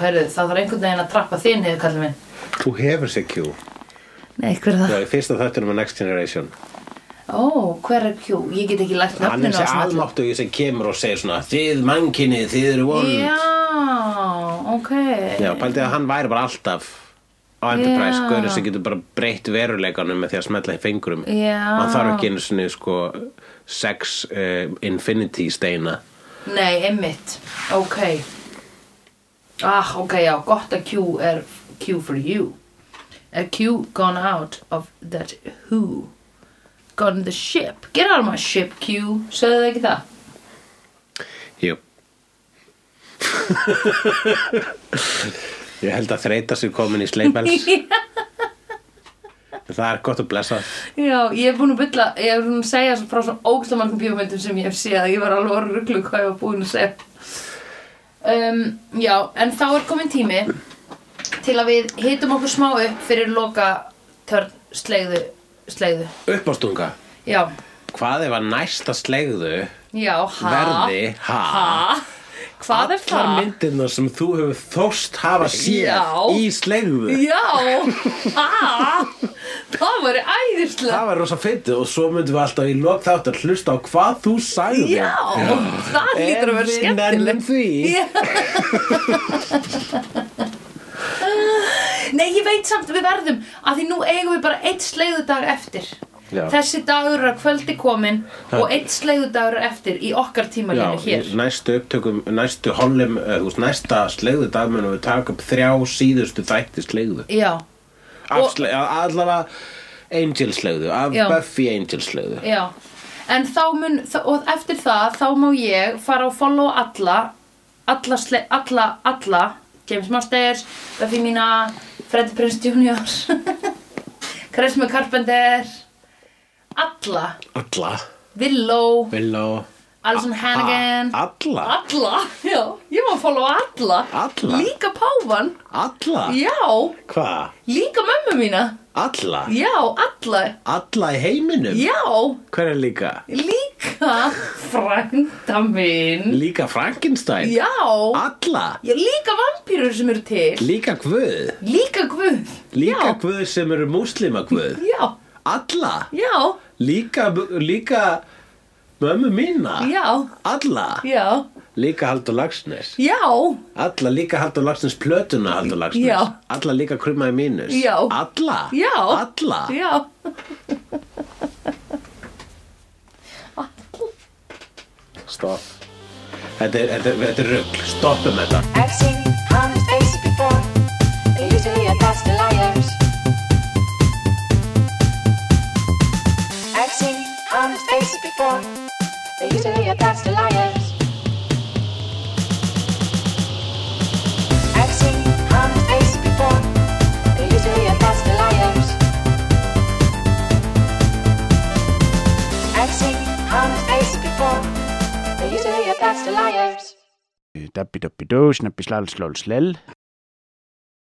[SPEAKER 1] Heyrðu, það þarf einhvern veginn að trappa þín hefur kallið minn
[SPEAKER 2] Þú hefur sér Q
[SPEAKER 1] Nei, hver er
[SPEAKER 2] Já,
[SPEAKER 1] það?
[SPEAKER 2] Sko, í fyrsta þættunum af Next Generation
[SPEAKER 1] Ó, hver er Q? Ég get ekki lært
[SPEAKER 2] Hann
[SPEAKER 1] nöfninu
[SPEAKER 2] er
[SPEAKER 1] á
[SPEAKER 2] þessi
[SPEAKER 1] svona
[SPEAKER 2] almáttugi sem kemur og segir svona Þið mannkinni, þið eru vond
[SPEAKER 1] Já, ok
[SPEAKER 2] Já, pældi að hann væri bara alltaf á Enterprise,
[SPEAKER 1] Já.
[SPEAKER 2] yeah. gaurið sem getur bara breytt veruleikanum með því að smetla í fingrum
[SPEAKER 1] Já.
[SPEAKER 2] Hann þarf ekki einu sinni sko sex uh, infinity steina
[SPEAKER 1] Nei, einmitt, ok Ah, ok, já, gott að Q er Q for you Er Q gone out of that who? Gone the ship Get out of my ship, Q Sögðu þið ekki það?
[SPEAKER 2] Jú Ég held að þreita sér komin í sleipels Það er gott að blessa
[SPEAKER 1] Já, ég hef búin að bylla Ég hef búin að segja svo frá svona ógæslega mörgum bíómyndum sem ég hef séð Ég var alveg orður rugglu hvað ég var búin að segja um, Já, en þá er komin tími Til að við hitum okkur smá upp Fyrir loka törn slegðu Slegðu
[SPEAKER 2] Uppástunga
[SPEAKER 1] Já,
[SPEAKER 2] Hvað ef að næsta slegðu
[SPEAKER 1] já, ha
[SPEAKER 2] verði ha,
[SPEAKER 1] Ha, hvað er
[SPEAKER 2] Allar
[SPEAKER 1] það?
[SPEAKER 2] myndirna sem þú hefur þóst hafa
[SPEAKER 1] Já.
[SPEAKER 2] séð í slegðu
[SPEAKER 1] Já, ha Það væri æðislega
[SPEAKER 2] Það var rosa fyndið og svo myndum við alltaf í lok þátt að hlusta á hvað þú sagði
[SPEAKER 1] Já, það lítur að vera
[SPEAKER 2] En við nennum
[SPEAKER 1] skemmtilegt
[SPEAKER 2] því
[SPEAKER 1] Já. Nei, ég veit samt við verðum að því nú eigum við bara eitt sleiðudag eftir
[SPEAKER 2] Já.
[SPEAKER 1] þessi dagur er að kvöldi komin og eitt slegðu dagur er eftir í okkar
[SPEAKER 2] Já,
[SPEAKER 1] tímalínu hérna hér
[SPEAKER 2] í næstu upptökum, næstu hollum, uh, þú veist, næsta slegðu dag munum við taka upp þrjá síðustu þætti slegðu.
[SPEAKER 1] já,
[SPEAKER 2] Af
[SPEAKER 1] Og-
[SPEAKER 2] slegðu, allavega Angel slegðu, af
[SPEAKER 1] Já.
[SPEAKER 2] Buffy Angel slegðu.
[SPEAKER 1] já en þá mun, þ- og eftir það þá má ég fara og follow alla alla, sle, alla, alla James Masters, Buffy Mina Freddy Prinze Jr. Kresme Carpenter alla,
[SPEAKER 2] Alla.
[SPEAKER 1] Willow
[SPEAKER 2] Willow.
[SPEAKER 1] Alison Hannigan
[SPEAKER 2] A- Alla.
[SPEAKER 1] Alla, já, ég var að followa alla
[SPEAKER 2] Alla?
[SPEAKER 1] Líka páfan
[SPEAKER 2] Alla.
[SPEAKER 1] Já,
[SPEAKER 2] Hva?
[SPEAKER 1] líka mömmu mína
[SPEAKER 2] Alla.
[SPEAKER 1] Já, alla
[SPEAKER 2] Alla í heiminum?
[SPEAKER 1] Já,
[SPEAKER 2] Hver er líka?
[SPEAKER 1] líka frænda minn
[SPEAKER 2] Líka Frankenstein?
[SPEAKER 1] Já,
[SPEAKER 2] Alla.
[SPEAKER 1] já líka vampýrur sem eru til
[SPEAKER 2] Líka Guð.
[SPEAKER 1] Líka guð
[SPEAKER 2] Líka
[SPEAKER 1] já.
[SPEAKER 2] Guð sem eru múslima Guð.
[SPEAKER 1] Já,
[SPEAKER 2] Alla.
[SPEAKER 1] já,
[SPEAKER 2] Líka, líka mömmu mína.
[SPEAKER 1] já,
[SPEAKER 2] Alla,
[SPEAKER 1] já,
[SPEAKER 2] líka Haldur Lagsnes
[SPEAKER 1] já
[SPEAKER 2] Alla líka Haldur Lagsnes plötuna Haldur Lagsnes
[SPEAKER 1] Já.
[SPEAKER 2] Alla líka krummaði mínus
[SPEAKER 1] Já.
[SPEAKER 2] Alla,
[SPEAKER 1] Já.
[SPEAKER 2] alla
[SPEAKER 1] Já
[SPEAKER 2] Stopp Þetta er, þetta, er- þetta er rugl, stoppum þetta
[SPEAKER 4] I've seen honest faces before. They're usually a pass to liars. I've seen honest faces before. They're usually a pass to liars. I've seen honest faces before. They're usually a pass to liars. I've seen honest faces before. They're usually a pass to liars.
[SPEAKER 5] Dabbi dabbi dó, snabbi slall slól slell